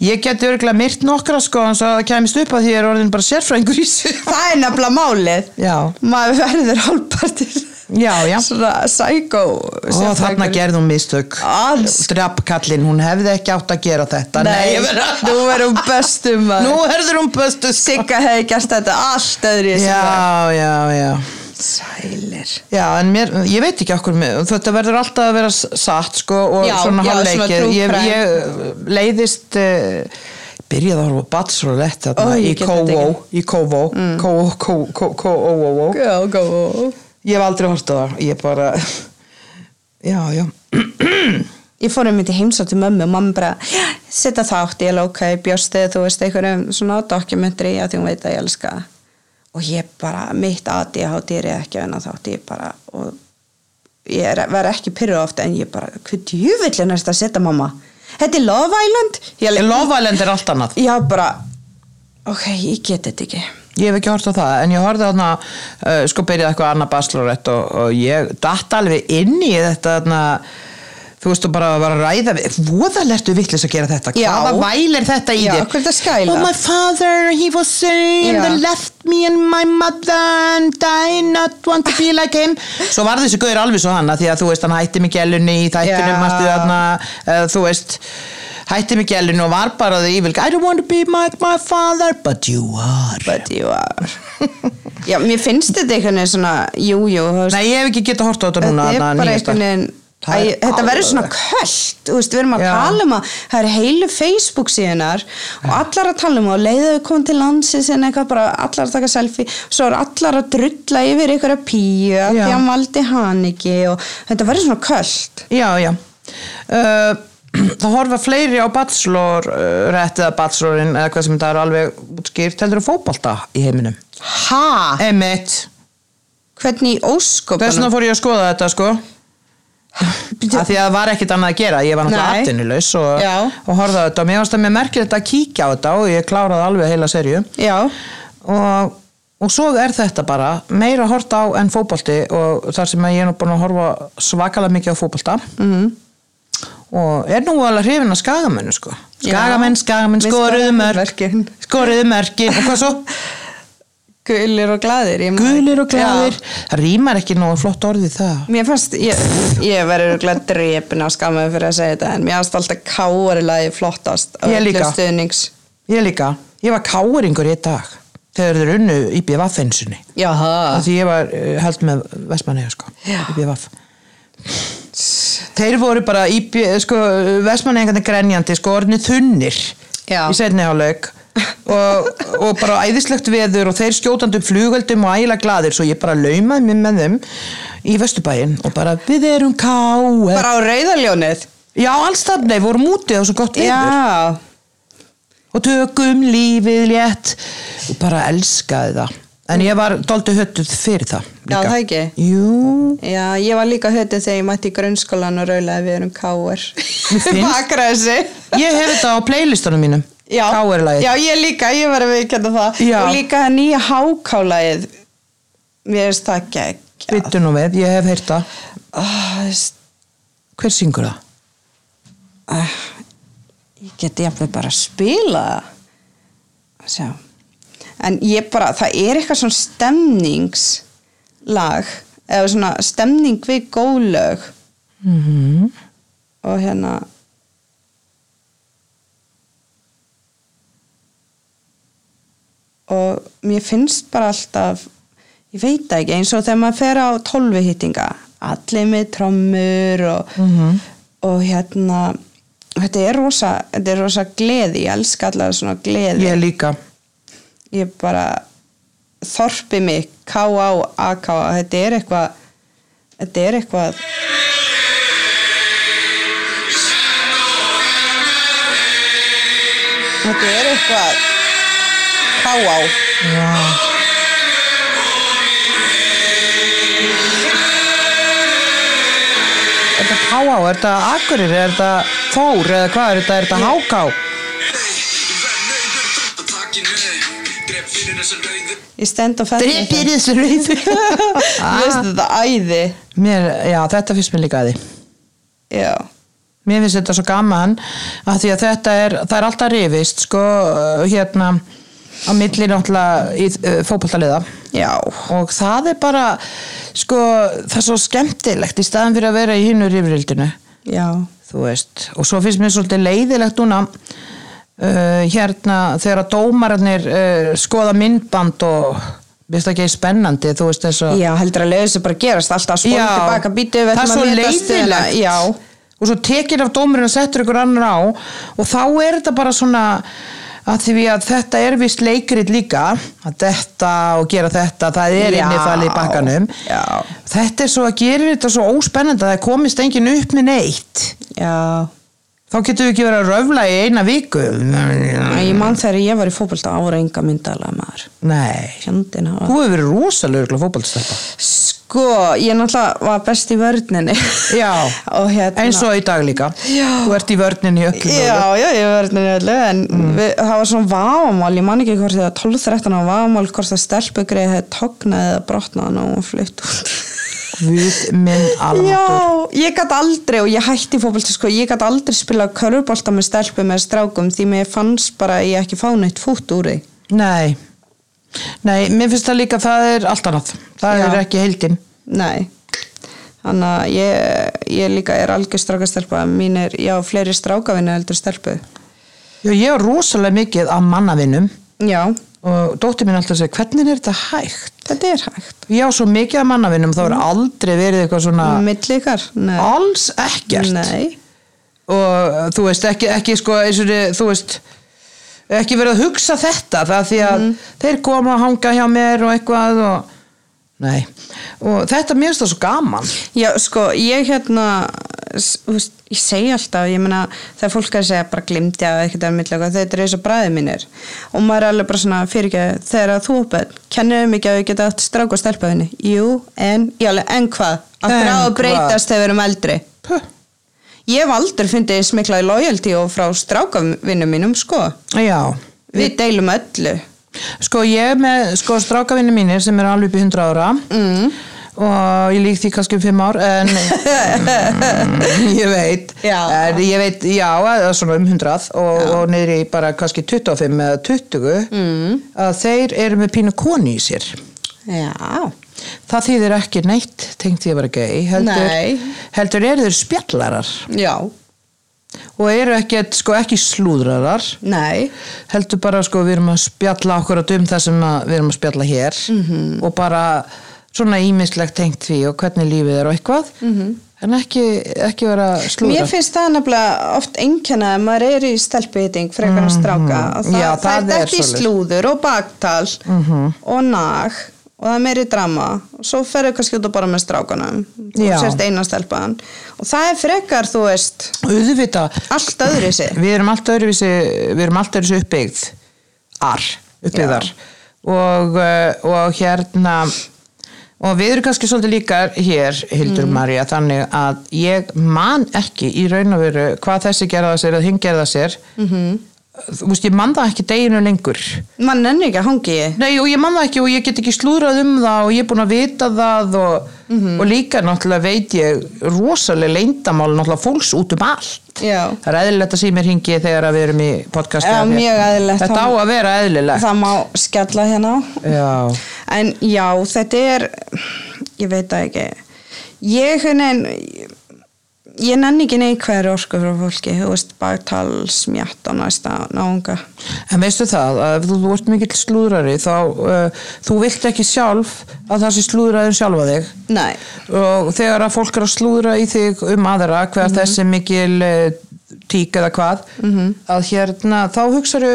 B: ég geti örgulega myrt nokkra sko en svo að það kemist upp að því ég er orðin bara sérfræðingur í sig.
C: það er nefnilega málið
B: Já,
C: maður verður hálpartir
B: já, já.
C: svona psycho
B: Og þarna gerði hún mistök.
C: Alls-
B: Drapkallinn, hún hefði ekki átt að gera þetta.
C: Nei,
B: ég verð að...
C: nú erum bestum maður
B: Nú herður hún böstu.
C: Sigga hefði gert þetta allt öðru
B: Já, já, já.
C: Sælir
B: Já, en mér, ég veit ekki okkur með, þetta verður alltaf að vera s- satt sko og
C: Já,
B: svona
C: já,
B: halvleikið,
C: svona true
B: ég,
C: crime.
B: ég leiðist uh, byrjaði að horfa á Bachelorette þarna
C: Ó,
B: í
C: ég get þetta Mm.
B: Kóvó, í Kóvó, Kóvó, Kóvó, Kóvó, Kóvó, Kóvó,
C: Go, go
B: ég hef aldrei hort á það, ég bara, já, já,
C: Ég fór einmitt í heimsáttu mömmu og mamma bara setja þátt, ég alveg ok, bjóstið þú veist einhverjum svona dokumentri að því hún veit að ég elska það." og ég bara, mitt aði á dýri ekki en að þátt, ég bara og ég er, verð ekki pyrruð ofta en ég bara, hvað djúvillin er þetta að setja mamma Þetta er Love Island Ég alveg-
B: Love Island er allt annað.
C: Já, bara, ok, ég get þetta ekki.
B: Ég hef ekki hort á það, en ég horfði þarna, uh, sko byrjaði eitthvað annað Bachelorette og, og ég datt alveg inn í þetta þarna, þú veist, og bara var að ræða við, voðalertu vittlis að gera þetta,
C: Já.
B: hvaða væl er þetta í
C: Já,
B: þér?
C: hvað er þetta að skæla?
B: Oh my father, he was saying,
C: Já.
B: they left me and my mother and I not want to be like him. Svo var þessi gauður alveg svo hann, að því að þú veist, hann hætti mig gælunni í þættunum,
C: Já.
B: manstu þarna, uh, þú veist, hætti mig gælunni og var bara því, I don't want to be like my father, but you are.
C: But you are. Já, mér finnst þetta einhvern veginn svona, jú, jú, þú veist,
B: Nei, ég hef ekki getað hort á þetta núna
C: þetta er
B: þarna
C: bara
B: nýjasta.
C: einhvern veginn,
B: Það er
C: Æ, þetta verður
B: alveg.
C: svona kvöld, þú veist, við erum að
B: Já.
C: tala um að það er heilu Facebook síðunar og allar að tala um að leiða við komum til landsins en eitthvað bara allar að taka selfie svo er allar að drulla yfir ykkur að píu að því
B: Já.
C: að maldi hann ekki og þetta verður svona kvöld
B: Já, já. Uh, það horfa fleiri á bachelor, uh, rétt eða bachelorinn eða hvað sem þetta er alveg útskýrt, heldur þú fótbolta í heiminum?
C: Hæ?
B: Emitt.
C: Hvernig í
B: Þess vegna
C: óskopunum?
B: fór ég að skoða þetta sko. Af því að það var ekkit annað að gera, ég var náttúrulega
C: Nei.
B: atvinnulegs og,
C: Já.
B: og horfði á þetta. Mér varst það mér merkilegt að kíkja á þetta og ég kláraði alveg heila serju.
C: Já,
B: og, og svo er þetta bara meira hort á enn fótbolti og þar sem að ég er nú búin að horfa svakalega mikið á fótbolta
C: Mhm.
B: -hmm. og er nú alveg hrifin að skagamennu sko
C: Já.
B: skagamenn, skagamenn,
C: Við
B: skoruðu
C: skoruðum
B: mörk
C: mörkin.
B: skoruðu mörkin og hvað svo?
C: gulir og glaðir ég man-
B: gulir og glæðir
C: Já.
B: það rýmar ekki nógu flott orðið það
C: Mér fannst, ég, ég verður glæð drepin á skamöðu fyrir að segja þetta en mér fannst alltaf káarilægi flottast af
B: Ég
C: öllu
B: líka.
C: stuðnings.
B: ég líka, ég var káringur í dag þegar þeir unnu í BVF-einsunni
C: Jaha.
B: því ég var eh, held með Vestmanneja sko,
C: Já.
B: í BVF þeir voru bara í B- sko, Vestmanneja grenjandi sko orðinu þunnir
C: Já.
B: í setni hálfleik og, og bara æðislegt veður og þeir skjótandi upp flugöldum og ægilega glaðir svo ég bara laumaði mér með þeim í Vesturbæin og bara við erum ká
C: Bara á rauðaljónið?
B: já alls það, nei, vorum úti á svo gott veður
C: Já.
B: og tökum lífið létt og bara elskaði það en ég var doldi höttuð fyrir það
C: Já,
B: líka.
C: það ekki?
B: Jú,
C: Já, ég var líka hötið þegar ég mætti í grunnskólan og rauðlega við erum káar.
B: finnst-
C: Bakræsi.
B: ég hef þetta á playlistanum mínum
C: Já.
B: Káurlægið
C: Já, ég líka, ég var að viðkjönda það.
B: Já.
C: Og líka það nýja hákálaðið. Mér finnst það geggjað.
B: Byttu nú við, ég hef heyrt það
C: Ah, þú veist,
B: Hver syngur það?
C: ah, ég geti jafnveg bara að spila það. Sjá. En ég bara, það er eitthvað svona stemningslag eða svona stemning við gólög Mhm. og hérna og mér finnst bara alltaf ég veit það ekki, eins og þegar maður fer á tólfi hittinga, allir með trommur og, og hérna þetta er rosa þetta er rosa gleði, ég elska allar svona gleði,
B: Ég líka
C: ég bara þorpi mig, K.A. A.K. þetta er eitthvað þetta er eitthvað þetta er eitthvað K.A.
B: Já, Er þetta káá, er þetta akurir, er þetta fór eða hvað er þetta, er þetta háká?
D: Ég verð nauður þótt að taki með Dref fyrir þessu rauðu
C: ég stend og fenni
B: þessu rauðu.
C: þetta æði
B: Mér, já, þetta finnst mér líka að því.
C: já,
B: Mér finnst þetta svo gaman að því að þetta er, það er alltaf rifist sko, uh, hérna á milli náttúrulega í uh, fótballtaliða
C: já
B: og það er bara sko, það er svo skemmtilegt í staðan fyrir að vera í hinnu rifrildinu
C: já,
B: þú veist, og svo finnst mér svolítið leiðilegt núna uh, hérna þegar að dómararnir uh, skoða myndband og mér finnst það ekki spennandi, þú veist þess að
C: já heldur að leiðu þessu bara gerast alltaf spóla
B: Já.
C: tilbaka, býtu við
B: það er
C: ætlum
B: svo
C: að meta stöðuna.
B: leiðilegt
C: já,
B: og svo tekinn af dómurinn og settur ykkur annar á og þá er þetta bara svona að því að þetta er vist leikrit líka að þetta og gera þetta það er
C: Já.
B: innifalið í bakkanum
C: Já.
B: þetta er svo að gera þetta svo óspennandi að það komist engin upp með neitt
C: já
B: þá getum við ekki verið að röfla í eina viku
C: Æ, Ég man þegar ég var í fótbolta ára enga myndalega maður.
B: nei
C: Fjandinn hafa.
B: þú hefur verið rosalega fótballstæpa
C: Sko, ég náttúrulega var best í vörninni.
B: já,
C: og hérna.
B: eins og í dag líka
C: Já.
B: þú ert í vörninni í öllu Mm.
C: Já, já, ég var hérna í öllu en við, það var svona vafamál, ég man ekki hvort það var 12-13 á vafamál hvort það stelpugrið hefði tognað eða brotnað og hún flutt út.
B: Guð minn almatur
C: Já, ég gæti aldrei og ég hætti fótbolta sko, ég gæti aldrei spilað körfubolta með stelpum eða strákum því mér fannst bara að ég ekki fá neitt fút úr því.
B: Nei, nei, mér finnst það líka að það er allt annað, það
C: Já.
B: er ekki heildin
C: Nei Þannig að ég, ég líka er algjör strákastelpa Mín er, já, fleiri strákavinni heldur stelpu
B: Já, ég er rosalega mikið af mannavinnum
C: Já,
B: og dóttir mín alltaf segi hvernig er þetta hægt
C: Þetta er hægt.
B: ég á svo mikið að mannavinnum þá er
C: Mm.
B: aldrei verið eitthvað svona
C: Milli ykkar? Nei.
B: alls ekkert
C: Mm. Nei.
B: og uh, þú veist ekki, ekki sko eins og þið- þú veist ekki verið að hugsa þetta það því að þeir koma að hanga hjá mér og eitthvað og nei og þetta mér finnst það svo gaman
C: Já, sko, ég hérna s- þú veist, ég segi alltaf, ég meina það er fólk að segja bara glimtja eða ekkert er millega, þetta er eins og bræði mínir og maður er alveg bara svona fyrir ekki þegar að þú opið, kennir þau mikið að þau geta átt strák og stelpa henni, jú en, já, alveg, en hvað, að
B: En
C: þrá að
B: hvað?
C: breytast þegar við erum eldri
B: Puh.
C: ég hef aldrei fundið smiklaði loyalty og frá strákavinnum mínum, sko
B: já
C: við deilum öllu
B: Sko ég er með sko, strákavinni mínir sem eru alveg upp í 100 ára mm. og ég lík því kannski um 5 ár en mm, ég veit
C: Já.
B: en ég veit, já, eða svona um 100 og, og niður í bara kannski 25 eða 20 mm. að þeir eru með pínu konu í sér
C: já,
B: það þýðir ekki neitt tengt því að vera gei heldur,
C: Nei.
B: heldur eru þeir spjallarar
C: já,
B: og eru ekki, sko, ekki slúðrarar
C: nei
B: heldur bara sko við erum að spjalla okkur að um það sem að við erum að spjalla hér -hmm.
C: Mhm.
B: og bara svona ímislegt tengt því og hvernig lífið er og eitthvað -hmm. en ekki, ekki vera slúra
C: Mhm. Mér finnst það nefnilega oft einkenna að maður er í stelpuhiting frekar að stráka og það,
B: Mhm. Já, það
C: það
B: er
C: er ekki
B: svoleiðis. Mhm.
C: slúður og baktal og nag og það er meiri drama og svo ferðu kannski út og bara með strákanum
B: Já.
C: og sérst eina stelpaðan og það er frekar, þú veist,
B: auðvita,
C: allt öðru sig
B: við erum allt öðruvísi við erum allt öðruvísi uppbyggð ar, uppbyggðar og, eh, og hérna og við erum kannski svolítið líka hér, Hildur María, þannig að ég man ekki í raun og veru hvað þessi gerða sér eða hinn gerða sér -hmm. þú veist, ég man það ekki deginu lengur
C: mann enn ekki að hangi ég
B: Nei og ég man það ekki og ég get ekki slúðrað um það og ég er búin að vita það og, og líka náttúrulega veit ég rosalega leyndamál náttúrulega fólks út um allt.
C: Já.
B: Það er eðlilegt að síma mér hingi þegar að við erum í podcasti.
C: Já,
B: af þér.
C: mjög eðlilegt.
B: Þetta á að vera eðlilegt.
C: það má skjalla hérna á
B: Já.
C: En já, þetta er, ég veit það ekki, ég hennin, ég nenni ekki neikvæður orku frá fólki, þú veist, baktal, smjatt og næsta náunga.
B: En veistu það að ef þú, þú ert mikill slúðrari þá uh, þú vilt ekki sjálf að það sé slúðraður sjálfa þig.
C: Nei,
B: og þegar að fólk er að slúðra í þig um aðra hver
C: Mhm.
B: þessi mikil eh, tík eða hvað að hérna þá hugsaðu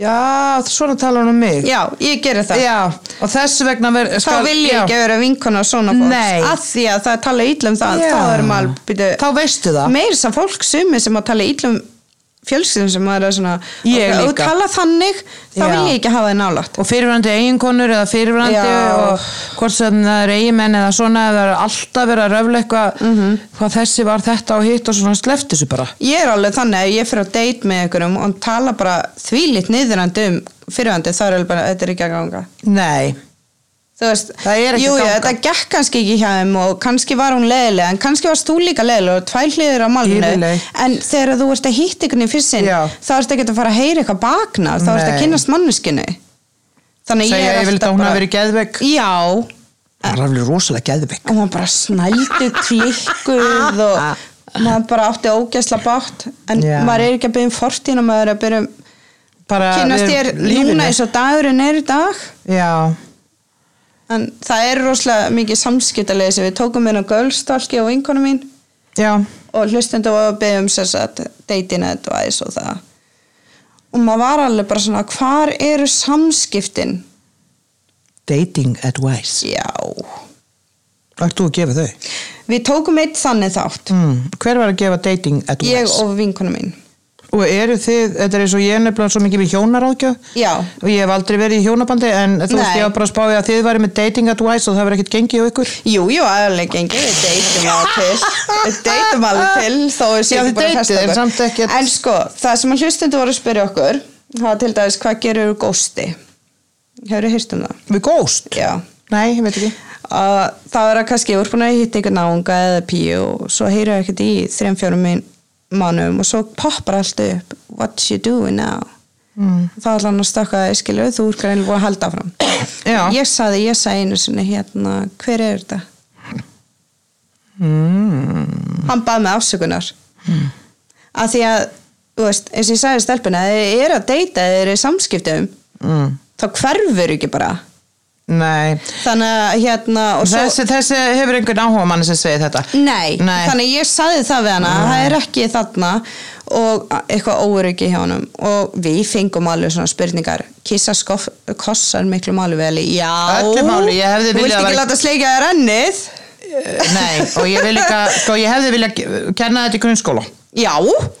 B: já svona tala hann um mig
C: já, ég gerir það.
B: já og þess vegna ver,
C: Þá vil ég ekki vera vinkona svona fólks.
B: Nei.
C: Að því að það tala ítlum það,
B: Já.
C: þá erum maður, byrju,
B: Þá veistu það.
C: Meir sem fólk sumi sem að tala ítlum fjölskyldum sem maður er svona,
B: Ég
C: ok, ef þú
B: líka.
C: tala þannig, þá
B: Já.
C: vil ég ekki hafa þið nálægt.
B: og fyrirverandi eiginkonur eða fyrirverandi
C: Já.
B: og hvort sem það er eiginmenn eða svona eða það er alltaf verið að röfla eitthvað hvað þessi var þetta og hitt og svona sleft þessu bara
C: Ég er alveg þannig að ef ég fyrir að date með einhverjum og hann tala bara þvílitt niðurandi um fyrirandi þá er alveg bara, þetta er ekki að ganga.
B: nei
C: Þú veist,
B: Það er ekki
C: jú,
B: að
C: jú,
B: ganga.
C: þetta gekk kannski ekki hjá þeim og kannski var hún leiðilega en kannski varst þú líka leiðilega og tvær hliður á málinu
B: Yfirleitt.
C: en þegar þú ert að hitta ykkur í fyrstinn
B: Já.
C: þá ert ekki að fara að heyra eitthvað bakna þá ert að
B: Nei.
C: kynnast manneskinni Þannig að
B: segja
C: ég er
B: ég vil þetta
C: alltaf
B: hún hafi
C: bara
B: verið geðveik
C: Já,
B: það er alveg rosalega geðveik
C: og maður bara snældu klikkuð og maður bara átti ógæsla bátt en
B: Já.
C: maður er ekki að byrja um fortíðina maður er að byrja um
B: bara
C: kynast
B: við
C: þér
B: lífinu.
C: núna eins og dagurinn er í dag
B: já
C: en það er rosalega mikið samskiptalegi sem við tókum inn á gölstálki og vinkonu mín
B: Já,
C: og hlustundu var að byrja um sérs að dating advice og það og maður var alveg bara svona hvar eru samskiptin?
B: dating advice.
C: Já
B: Ert þú að gefa þau?
C: við tókum eitt þannig þátt
B: Mm. Hver var að gefa dating advice?
C: ég og vinkonu mín
B: Og eru þið, þetta er eins og ég er nefnilega svo mikið við hjónaráðgjöf
C: Já.
B: og ég hef aldrei verið í hjónabandi en þú veist
C: Nei.
B: ég var bara að spáði að þið væri með dating advice og það verið ekkert gengið á ykkur.
C: Jú, jú, aðalega gengi, við deytum alveg til Við deytum alveg til þó við séum
B: Já, þið
C: ekki búin að festa
B: deytið, en
C: okkur.
B: samt ekkert-
C: En sko, það sem að hlustundu voru að spyrja okkur það var til dæmis, hvað gerir þú gósti? Hefur þú hýrt um það?
B: Við ghost?
C: Já
B: Nei, ég veit ekki.
C: að það er að kannski úr búin að hitta ykkur náunga eða píu og svo heyrðu ekkert í þrejum fjórum mannum og svo poppar allt upp what you doing now mm. þá ætla hann að stakka það, skilju, þú úr greinlega búin að halda
B: Já.
C: fram ég saði, ég saði einu sinni hérna, hver er þetta? Mm. hann bað með afsökunar mm. að því að þú veist, eins og ég sagði stelpuna, þeir eru að deyta þeir eru í samskiptum
B: Mm.
C: þá þá hverfur ekki bara
B: Nei,
C: þannig að hérna og svo,
B: þessi, þessi hefur einhvern áhuga mann sem segir þetta
C: nei,
B: Nei.
C: þannig að ég saði það við hana það er ekki þarna og eitthvað óöryggi hjá honum og við fengum alveg svona spurningar kissa skoff, kossar miklu máli vel já,
B: Öllu máli, ég hefði
C: þú
B: viljað
C: vilt ekki
B: vera-
C: láta sleika þér ennið
B: Nei, og ég vil líka, sko ég hefði vilja kenna þetta í grunnskóla
C: já,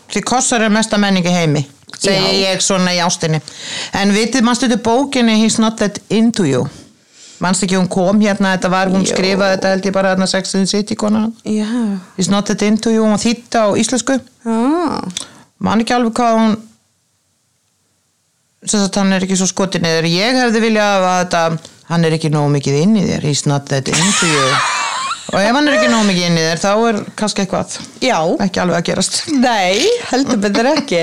B: Því kossar er mesta menning í heimi segi
C: Já.
B: ég svona í ástinni en vitið, mannstu þetta bókinni He's not that into you mannstu ekki hún kom hérna, þetta var hún
C: Jú.
B: skrifað þetta held ég bara hérna sexin city konan
C: já,
B: He's not that into you, hún var þýtt á íslensku
C: já
B: mann ekki alveg hvað hún sem sagt hann er ekki svo skotin eður ég hefði viljað að þetta hann er ekki nógu mikið inn í þér he's not that into you og ef hann er ekki nógu mikið inn í þér þá er kannski eitthvað
C: já,
B: ekki alveg að gerast
C: Nei, heldur betur ekki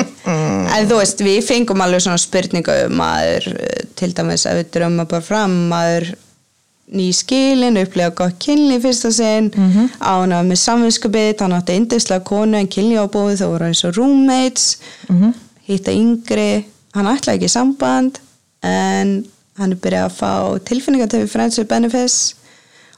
C: En þú veist, við fengum alveg svona spurningu um að til dæmis ef við drömmum bara fram maður ný skilin, upplega gott kynli í fyrsta sinn mm -hmm. ánað með samvinskubið, hann átti indislega konu en kynli ábúið þau voru eins og roommates hitta yngri hann ætlaði ekki í samband en hann er byrjað að fá tilfinningatöfi friendship benefits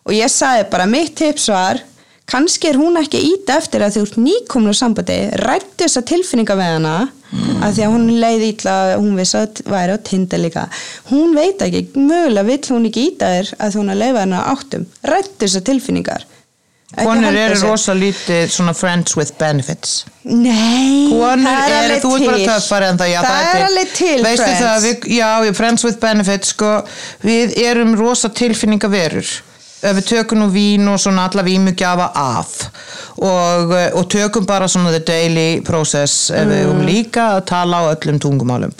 C: og ég sagði bara mitt tips var kannski er hún ekki ít eftir að þú ert nýkomin á sambandi rættu þessa tilfinninga með hana
B: Mm.
C: að því að hún leið ítla hún vissi að þetta væri á tinda líka hún veit ekki, mögulega vill hún ekki íta þér að hún að leifa hennar áttum rættu þessa tilfinningar Ekki
B: Konur
C: halda
B: eru
C: þessu.
B: rosa lítið svona friends with benefits
C: Nei,
B: Konur
C: Mm, það er
B: eru,
C: alveg
B: þú ert bara
C: til.
B: töffari en það, já
C: það er alveg til
B: Veistu
C: friends.
B: það, við, já, við friends with benefits sko, við erum rosa tilfinningaverur Ef við tökum nú vín og svona alla vímugjafa af og, eh, og tökum bara svona the daily process ef við
C: Mm.
B: erum líka að tala á öllum tungumálum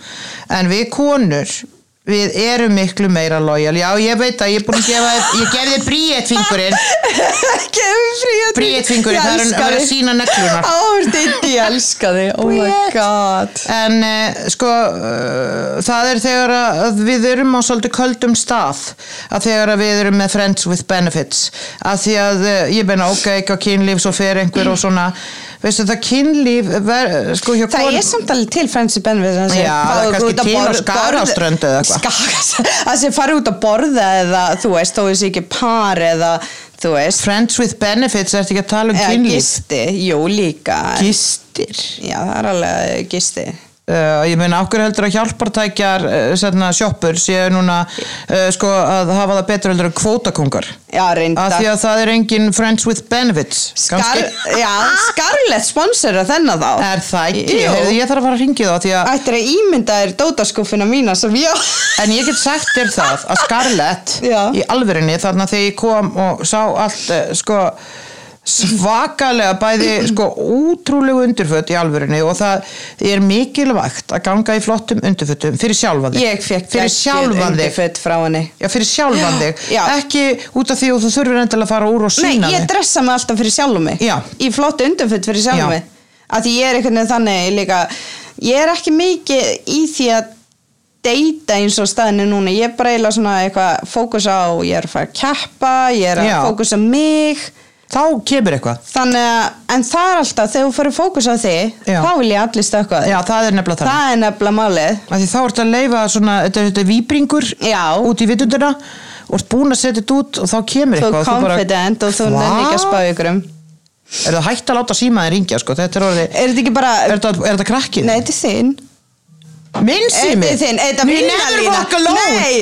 B: en við konur við erum miklu meira lojal já ég veit að ég er búin að gefa þér- ég gef þér bríett fingurinn
C: Gefum fríett
B: Bríett fingurinn, það er- það er að sýna neglunar.
C: Árdýtti, ég elska þig, oh my
B: Bríett.
C: god
B: en uh, sko uh, það er þegar að að við erum á svolítið köldum stað að þegar að við erum með friends with benefits að því að uh, ég beina ok, ekki á kynlíf svo fer einhver og svona veistu það kynlíf ver, sko hjá
C: Það
B: kon-
C: er samt alveg til Friends with Benefits þessi
B: Já,
C: fara
B: það er kannski
C: út að
B: til á
C: borð-
B: Skagaströnd eða eitthvað.
C: Skaga- Það sé fara út að borða eða þú veist, þó þessi ekki par eða þú veist
B: friends with benefits ertu ekki að tala um
C: eða
B: kynlíf
C: gisti, jú líka
B: gistir
C: Já, það er alveg gisti
B: Uh, ég meina, okkur heldur að hjálpartækjar uh, sérna, sjoppur séu núna uh, sko, að hafa það betur heldur en kvótakungar
C: Já,
B: að
C: reynda
B: því að það er engin friends with benefits
C: Skar,
B: Kannski-
C: Já, Scarlett sponsora þennan þá
B: Er það ekki?
C: Jú.
B: Heyrðu, ég þarf að fara að ringi þá því að
C: Ættir að ímynda þér dótaskúfina mína sem ég
B: En ég get sagt þér það að Scarlett
C: Já.
B: í alvörinni þarna þegar ég kom og sá allt eh, sko svakalega bæði sko útrúlegu undirföt í alvörinni og það er mikilvægt að ganga í flottum undirfötum fyrir sjálfan þig.
C: Ég fekk
B: fyrir sjálfan þig.
C: undirföt frá henni
B: Já, fyrir sjálfan þig.
C: Já.
B: Ekki út af því og þú þurfir endilega að fara úr og
C: Nei,
B: sína
C: ég dressa mig alltaf fyrir sjálfum mig
B: Já.
C: Í flottu undanföt fyrir
B: Já.
C: sjálfum mig Af því ég er einhvern veginn þannig líka Ég er ekki mikið í því að deyta eins og staðinu núna Ég er bara eiginlega svona eitthvað fókus á Ég er að fara að keppa, ég er að
B: Já.
C: fókusa á mig
B: Þá kemur eitthvað.
C: Þannig að, en það er alltaf Þegar þú fyrir fókus á þig,
B: Já.
C: þá vil ég allir stökkva þig
B: Já, það er nefnilega þannig.
C: Það er nefnilega málið
B: Af Því þá ertu að leifa svona, þetta er þetta víbringur
C: Já.
B: út í vitundina og ert búin að setja þetta út og þá kemur
C: Þú
B: eitthvað
C: er confident og þú
B: Hva?
C: nefnir ekki að spá ykkur um
B: Er það hægt að láta síma þeir ringja sko, þetta er orðið
C: Er þetta ekki bara,
B: Er þetta, er þetta krakkið?
C: nei þetta er þinn
B: Minn sími?
C: Eitthi þinn, eitthi
B: We never walk alone
C: Nei,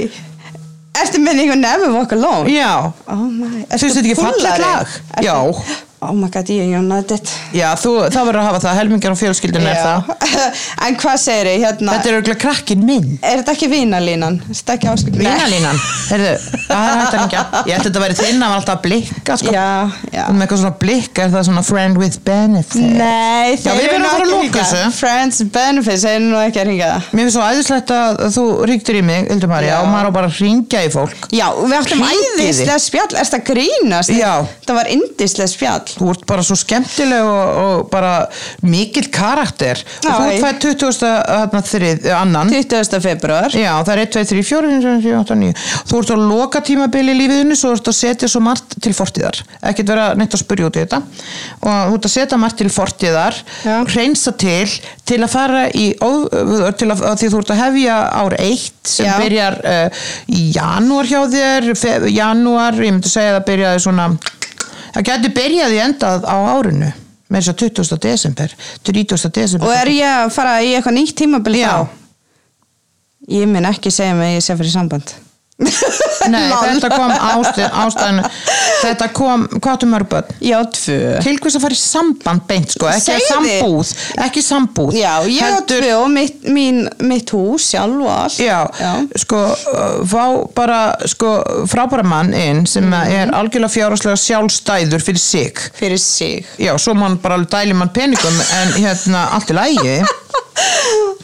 C: ertu með einhver never walk alone?
B: Já,
C: Oh my, ertu
B: Finnst þetta ekki
C: fúllari?
B: fallegt lag?
C: Ertu-
B: Já.
C: Oh my god, ég jónaði þetta
B: já þú, það verður að hafa það, helmingar og fjölskyldin er það
C: En hvað segir ég hérna?
B: Þetta er auðvitað krakkin minn
C: Er þetta ekki vínalínan? Er þetta ekki áskil?
B: Vínalínan, heyrðu, það er hægt að ringja Ég ætti þetta að vera þinn að alltaf að blikka sko
C: Já, já
B: Með eitthvað svona blikka er það svona friend with benefit
C: Nei,
B: Mm. Já, við
C: eru
B: verðum að fara að
C: nú ekki
B: loka
C: hingað.
B: þessu.
C: Friends Benefits er nú ekki að ringa það
B: Mér finnst svo æðislegt að þú ríktir í mig, Ildur Marja,
C: Já.
B: og maður á bara að ringja í fólk
C: Já, við áttum
B: Hringið þið.
C: æðislega spjall, er þetta grínast?
B: Já.
C: Það var indislega spjall
B: þú ert bara svo skemmtileg og, og bara mikill karakter og þú
C: Æ.
B: ert fætt 20. Þarna, þrið, annan
C: 20. februar
B: Já, það er 1, 2, 3, 4, 5, 6, 7, 8, 9 Þú ert á loka tímabili í lífiðinu svo ert að setja svo margt til fortíðar ekkert vera neitt að spurja út í þetta og þú ert að setja margt til fortíðar
C: Já.
B: reynsa til til að fara í ó- til að, að því þú ert að hefja ár 1 sem
C: Já.
B: byrjar uh, í janúar hjá þér fe, janúar, ég myndi segja að það byrjaði svona það getur byrjaði endað á árinu með þess að 20. desember 30. desember
C: og er ég að fara í eitthvað nýtt tímabil
B: Já.
C: þá? Ég minn ekki segja mig að ég sé fyrir samband
B: Nei,
C: Lol.
B: þetta kom ástæðan, ástæðan þetta kom, hvað áttu mörg börn?
C: Já, tvö
B: Til hvers að fara í samband beint sko, ekki
C: Segðu.
B: sambúð, ekki sambúð
C: Já, ég á
B: Heldur-
C: tvö og mitt, mín, mitt hús sjálf og allt
B: Já, sko, uh, fá bara sko, frábæra mann inn sem
C: Mhm.
B: er algjörlega fjárhagslega sjálfstæður fyrir sig
C: Fyrir sig
B: Já, svo mann bara alveg dæli mann peningum en hérna, allt í lægi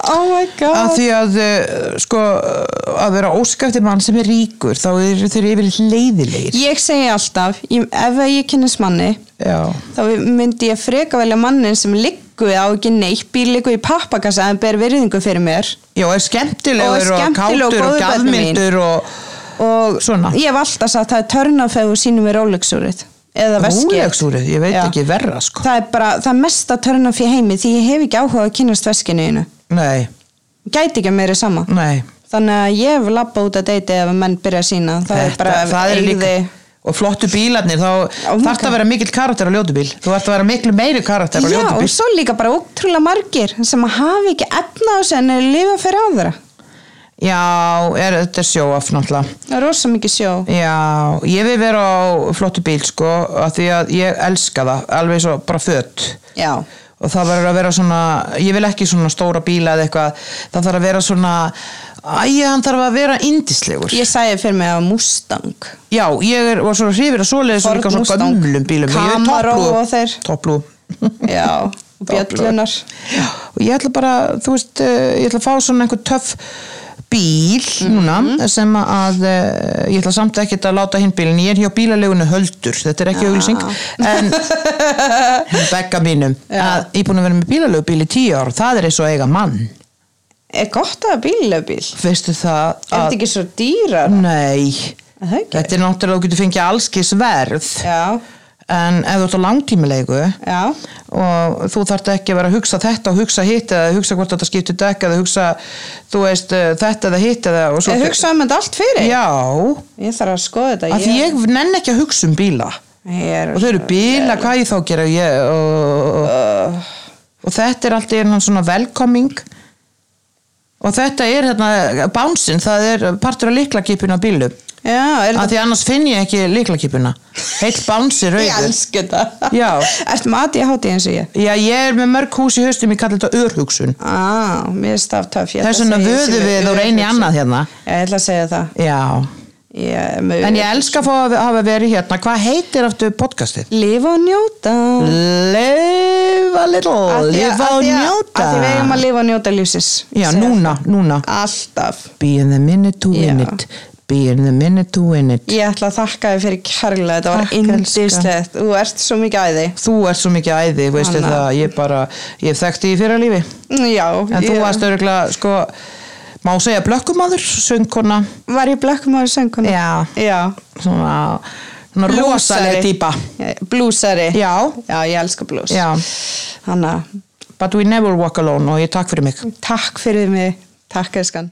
C: Oh my
B: að
C: god
B: því að uh, sko, uh, að vera óskæftir mann sem er ríkur þá eru þeir yfirleitt leiðilegir
C: Ég segi alltaf, ég, ef að ég kynnist manni
B: Já,
C: þá myndi ég freka velja mannin sem liggu á ekki neitt bíl liggu í pappakassa en ber virðingu fyrir mér
B: Já, er skemmtilegur og,
C: Og er skemmtilegur og
B: kátur og,
C: góður börnum mín.
B: gjafmyndur og
C: og
B: Svona.
C: ég hef alltaf sagt það er törnafeg og sínum við rólegsúrið eða veskið
B: rólegsúrið, ég veit
C: Já.
B: ekki verra sko.
C: það er bara það er mesta törnafeg heimi því ég hef ekki áhuga að kynast veskinu einu
B: Nei,
C: gæti ekki að meiri sama
B: nei.
C: þannig að ég hef lappa út að deiti ef menn byrja að sína það er
B: Þetta-
C: bara
B: það er
C: eigði
B: líka- Og flottu bílarnir, þá
C: Oh my
B: þarf það að vera mikill karakter á ljótubíl. Þú ert að vera miklu meiri karakter á
C: Já, og
B: ljótubíl.
C: svo líka bara ótrúlega margir sem hafa ekki efna á sig en er að lifa fyrir aðra.
B: Já, er, þetta er sjóaf náttúrulega.
C: Það er rosa mikið sjó.
B: Já, ég vil vera á flottu bíl sko, af því að ég elska það, alveg svo bara fött.
C: Já.
B: og það verður að vera svona ég vil ekki svona stóra bíla eða eitthvað það þarf að vera svona æja, hann þarf að vera indislegur
C: Ég sagði fyrir mig að Mustang.
B: já, ég er, var svona hrifir að svoleiðis og
C: Ford
B: líka svona
C: Mustang,
B: gömlum bílum
C: Camaro og þeir.
B: topplú
C: Já, og bjöllunar.
B: og ég ætla bara, þú veist eh, ég ætla að fá svona einhver töff bíl
C: Mhm.
B: núna sem að eh, ég ætla samt ekki að láta hinn bílinn ég er hjá bílalegunni höldur, þetta er ekki
C: Ah.
B: auðlýsing en begga mínum að ég er búin að vera með bílalögubíl í tíu ár það er eins og að eiga mann
C: Er gott að hafa bílöfbíl?
B: veistu það
C: Er þetta ekki svo dýrar?
B: nei,
C: Er Það ekki?
B: Mm. þetta er náttúrulega þú getur fengið allskis verð
C: Já,
B: en ef þú ert á langtímilegu
C: já,
B: og þú þarft ekki að vera að hugsa þetta og hugsa hitt eða hugsa hvort þetta skiptir dekk eða hugsa, þú veist, eh, þetta eða hitt eða og svo
C: ég hugsaði um þetta allt fyrir
B: já,
C: Ég þarf að skoða þetta
B: af því ég nenn ekki að hugsa um bíla
C: ég er,
B: og þau eru bíla, hvað ég þá gera ég, og,
C: Uh.
B: og, og þetta er allt í enn svona velkoming og þetta er hérna bánsin, það er partur af líklakipinu á bílum,
C: Já, er
B: af
C: þetta
B: því annars finn ég ekki líklakipuna, heill bánsi
C: Ég
B: rauður
C: elsku þetta
B: Já.
C: Ertu með aðið hátíð eins og ég?
B: já, ég er með mörg hús í haustum, ég kalli þetta örhugsun
C: Á, mér er staftöf
B: þess vegna vöðu við og reyni annað hérna
C: Já, ég ætla að segja það
B: já,
C: ég, er með-
B: en ég elska að fá að hafa verið hérna hvað heitir aftur podcastið?
C: Lifa og njóta
B: lifa little,
C: Af því að-
B: lifa
C: af
B: og
C: því að-
B: njóta
C: af Því við eigum að lifa og njóta lífsins
B: já,
C: Segja
B: núna, núna
C: það. Alltaf
B: be in the minute to win
C: Já.
B: it be in the minute to win it
C: Ég ætla að þakka þið fyrir kærlega, þetta
B: Takk,
C: var indislegt, þú ert svo mikið æði.
B: þú ert svo mikið æði, veistu
C: Anna.
B: það ég bara, ég þekkti í fyrra lífi
C: Já,
B: en þú
C: ég-
B: varst örgulega, sko má segja blökkumadur, söngkona
C: Var ég blökkumáður söngunum?
B: Já.
C: Já.
B: svona, svona rosaleg típa
C: Blúsari.
B: Já.
C: Já, ég elska blús.
B: Já.
C: Hanna,
B: but we never walk alone og ég takk fyrir mig
C: takk fyrir mig, takk elskan.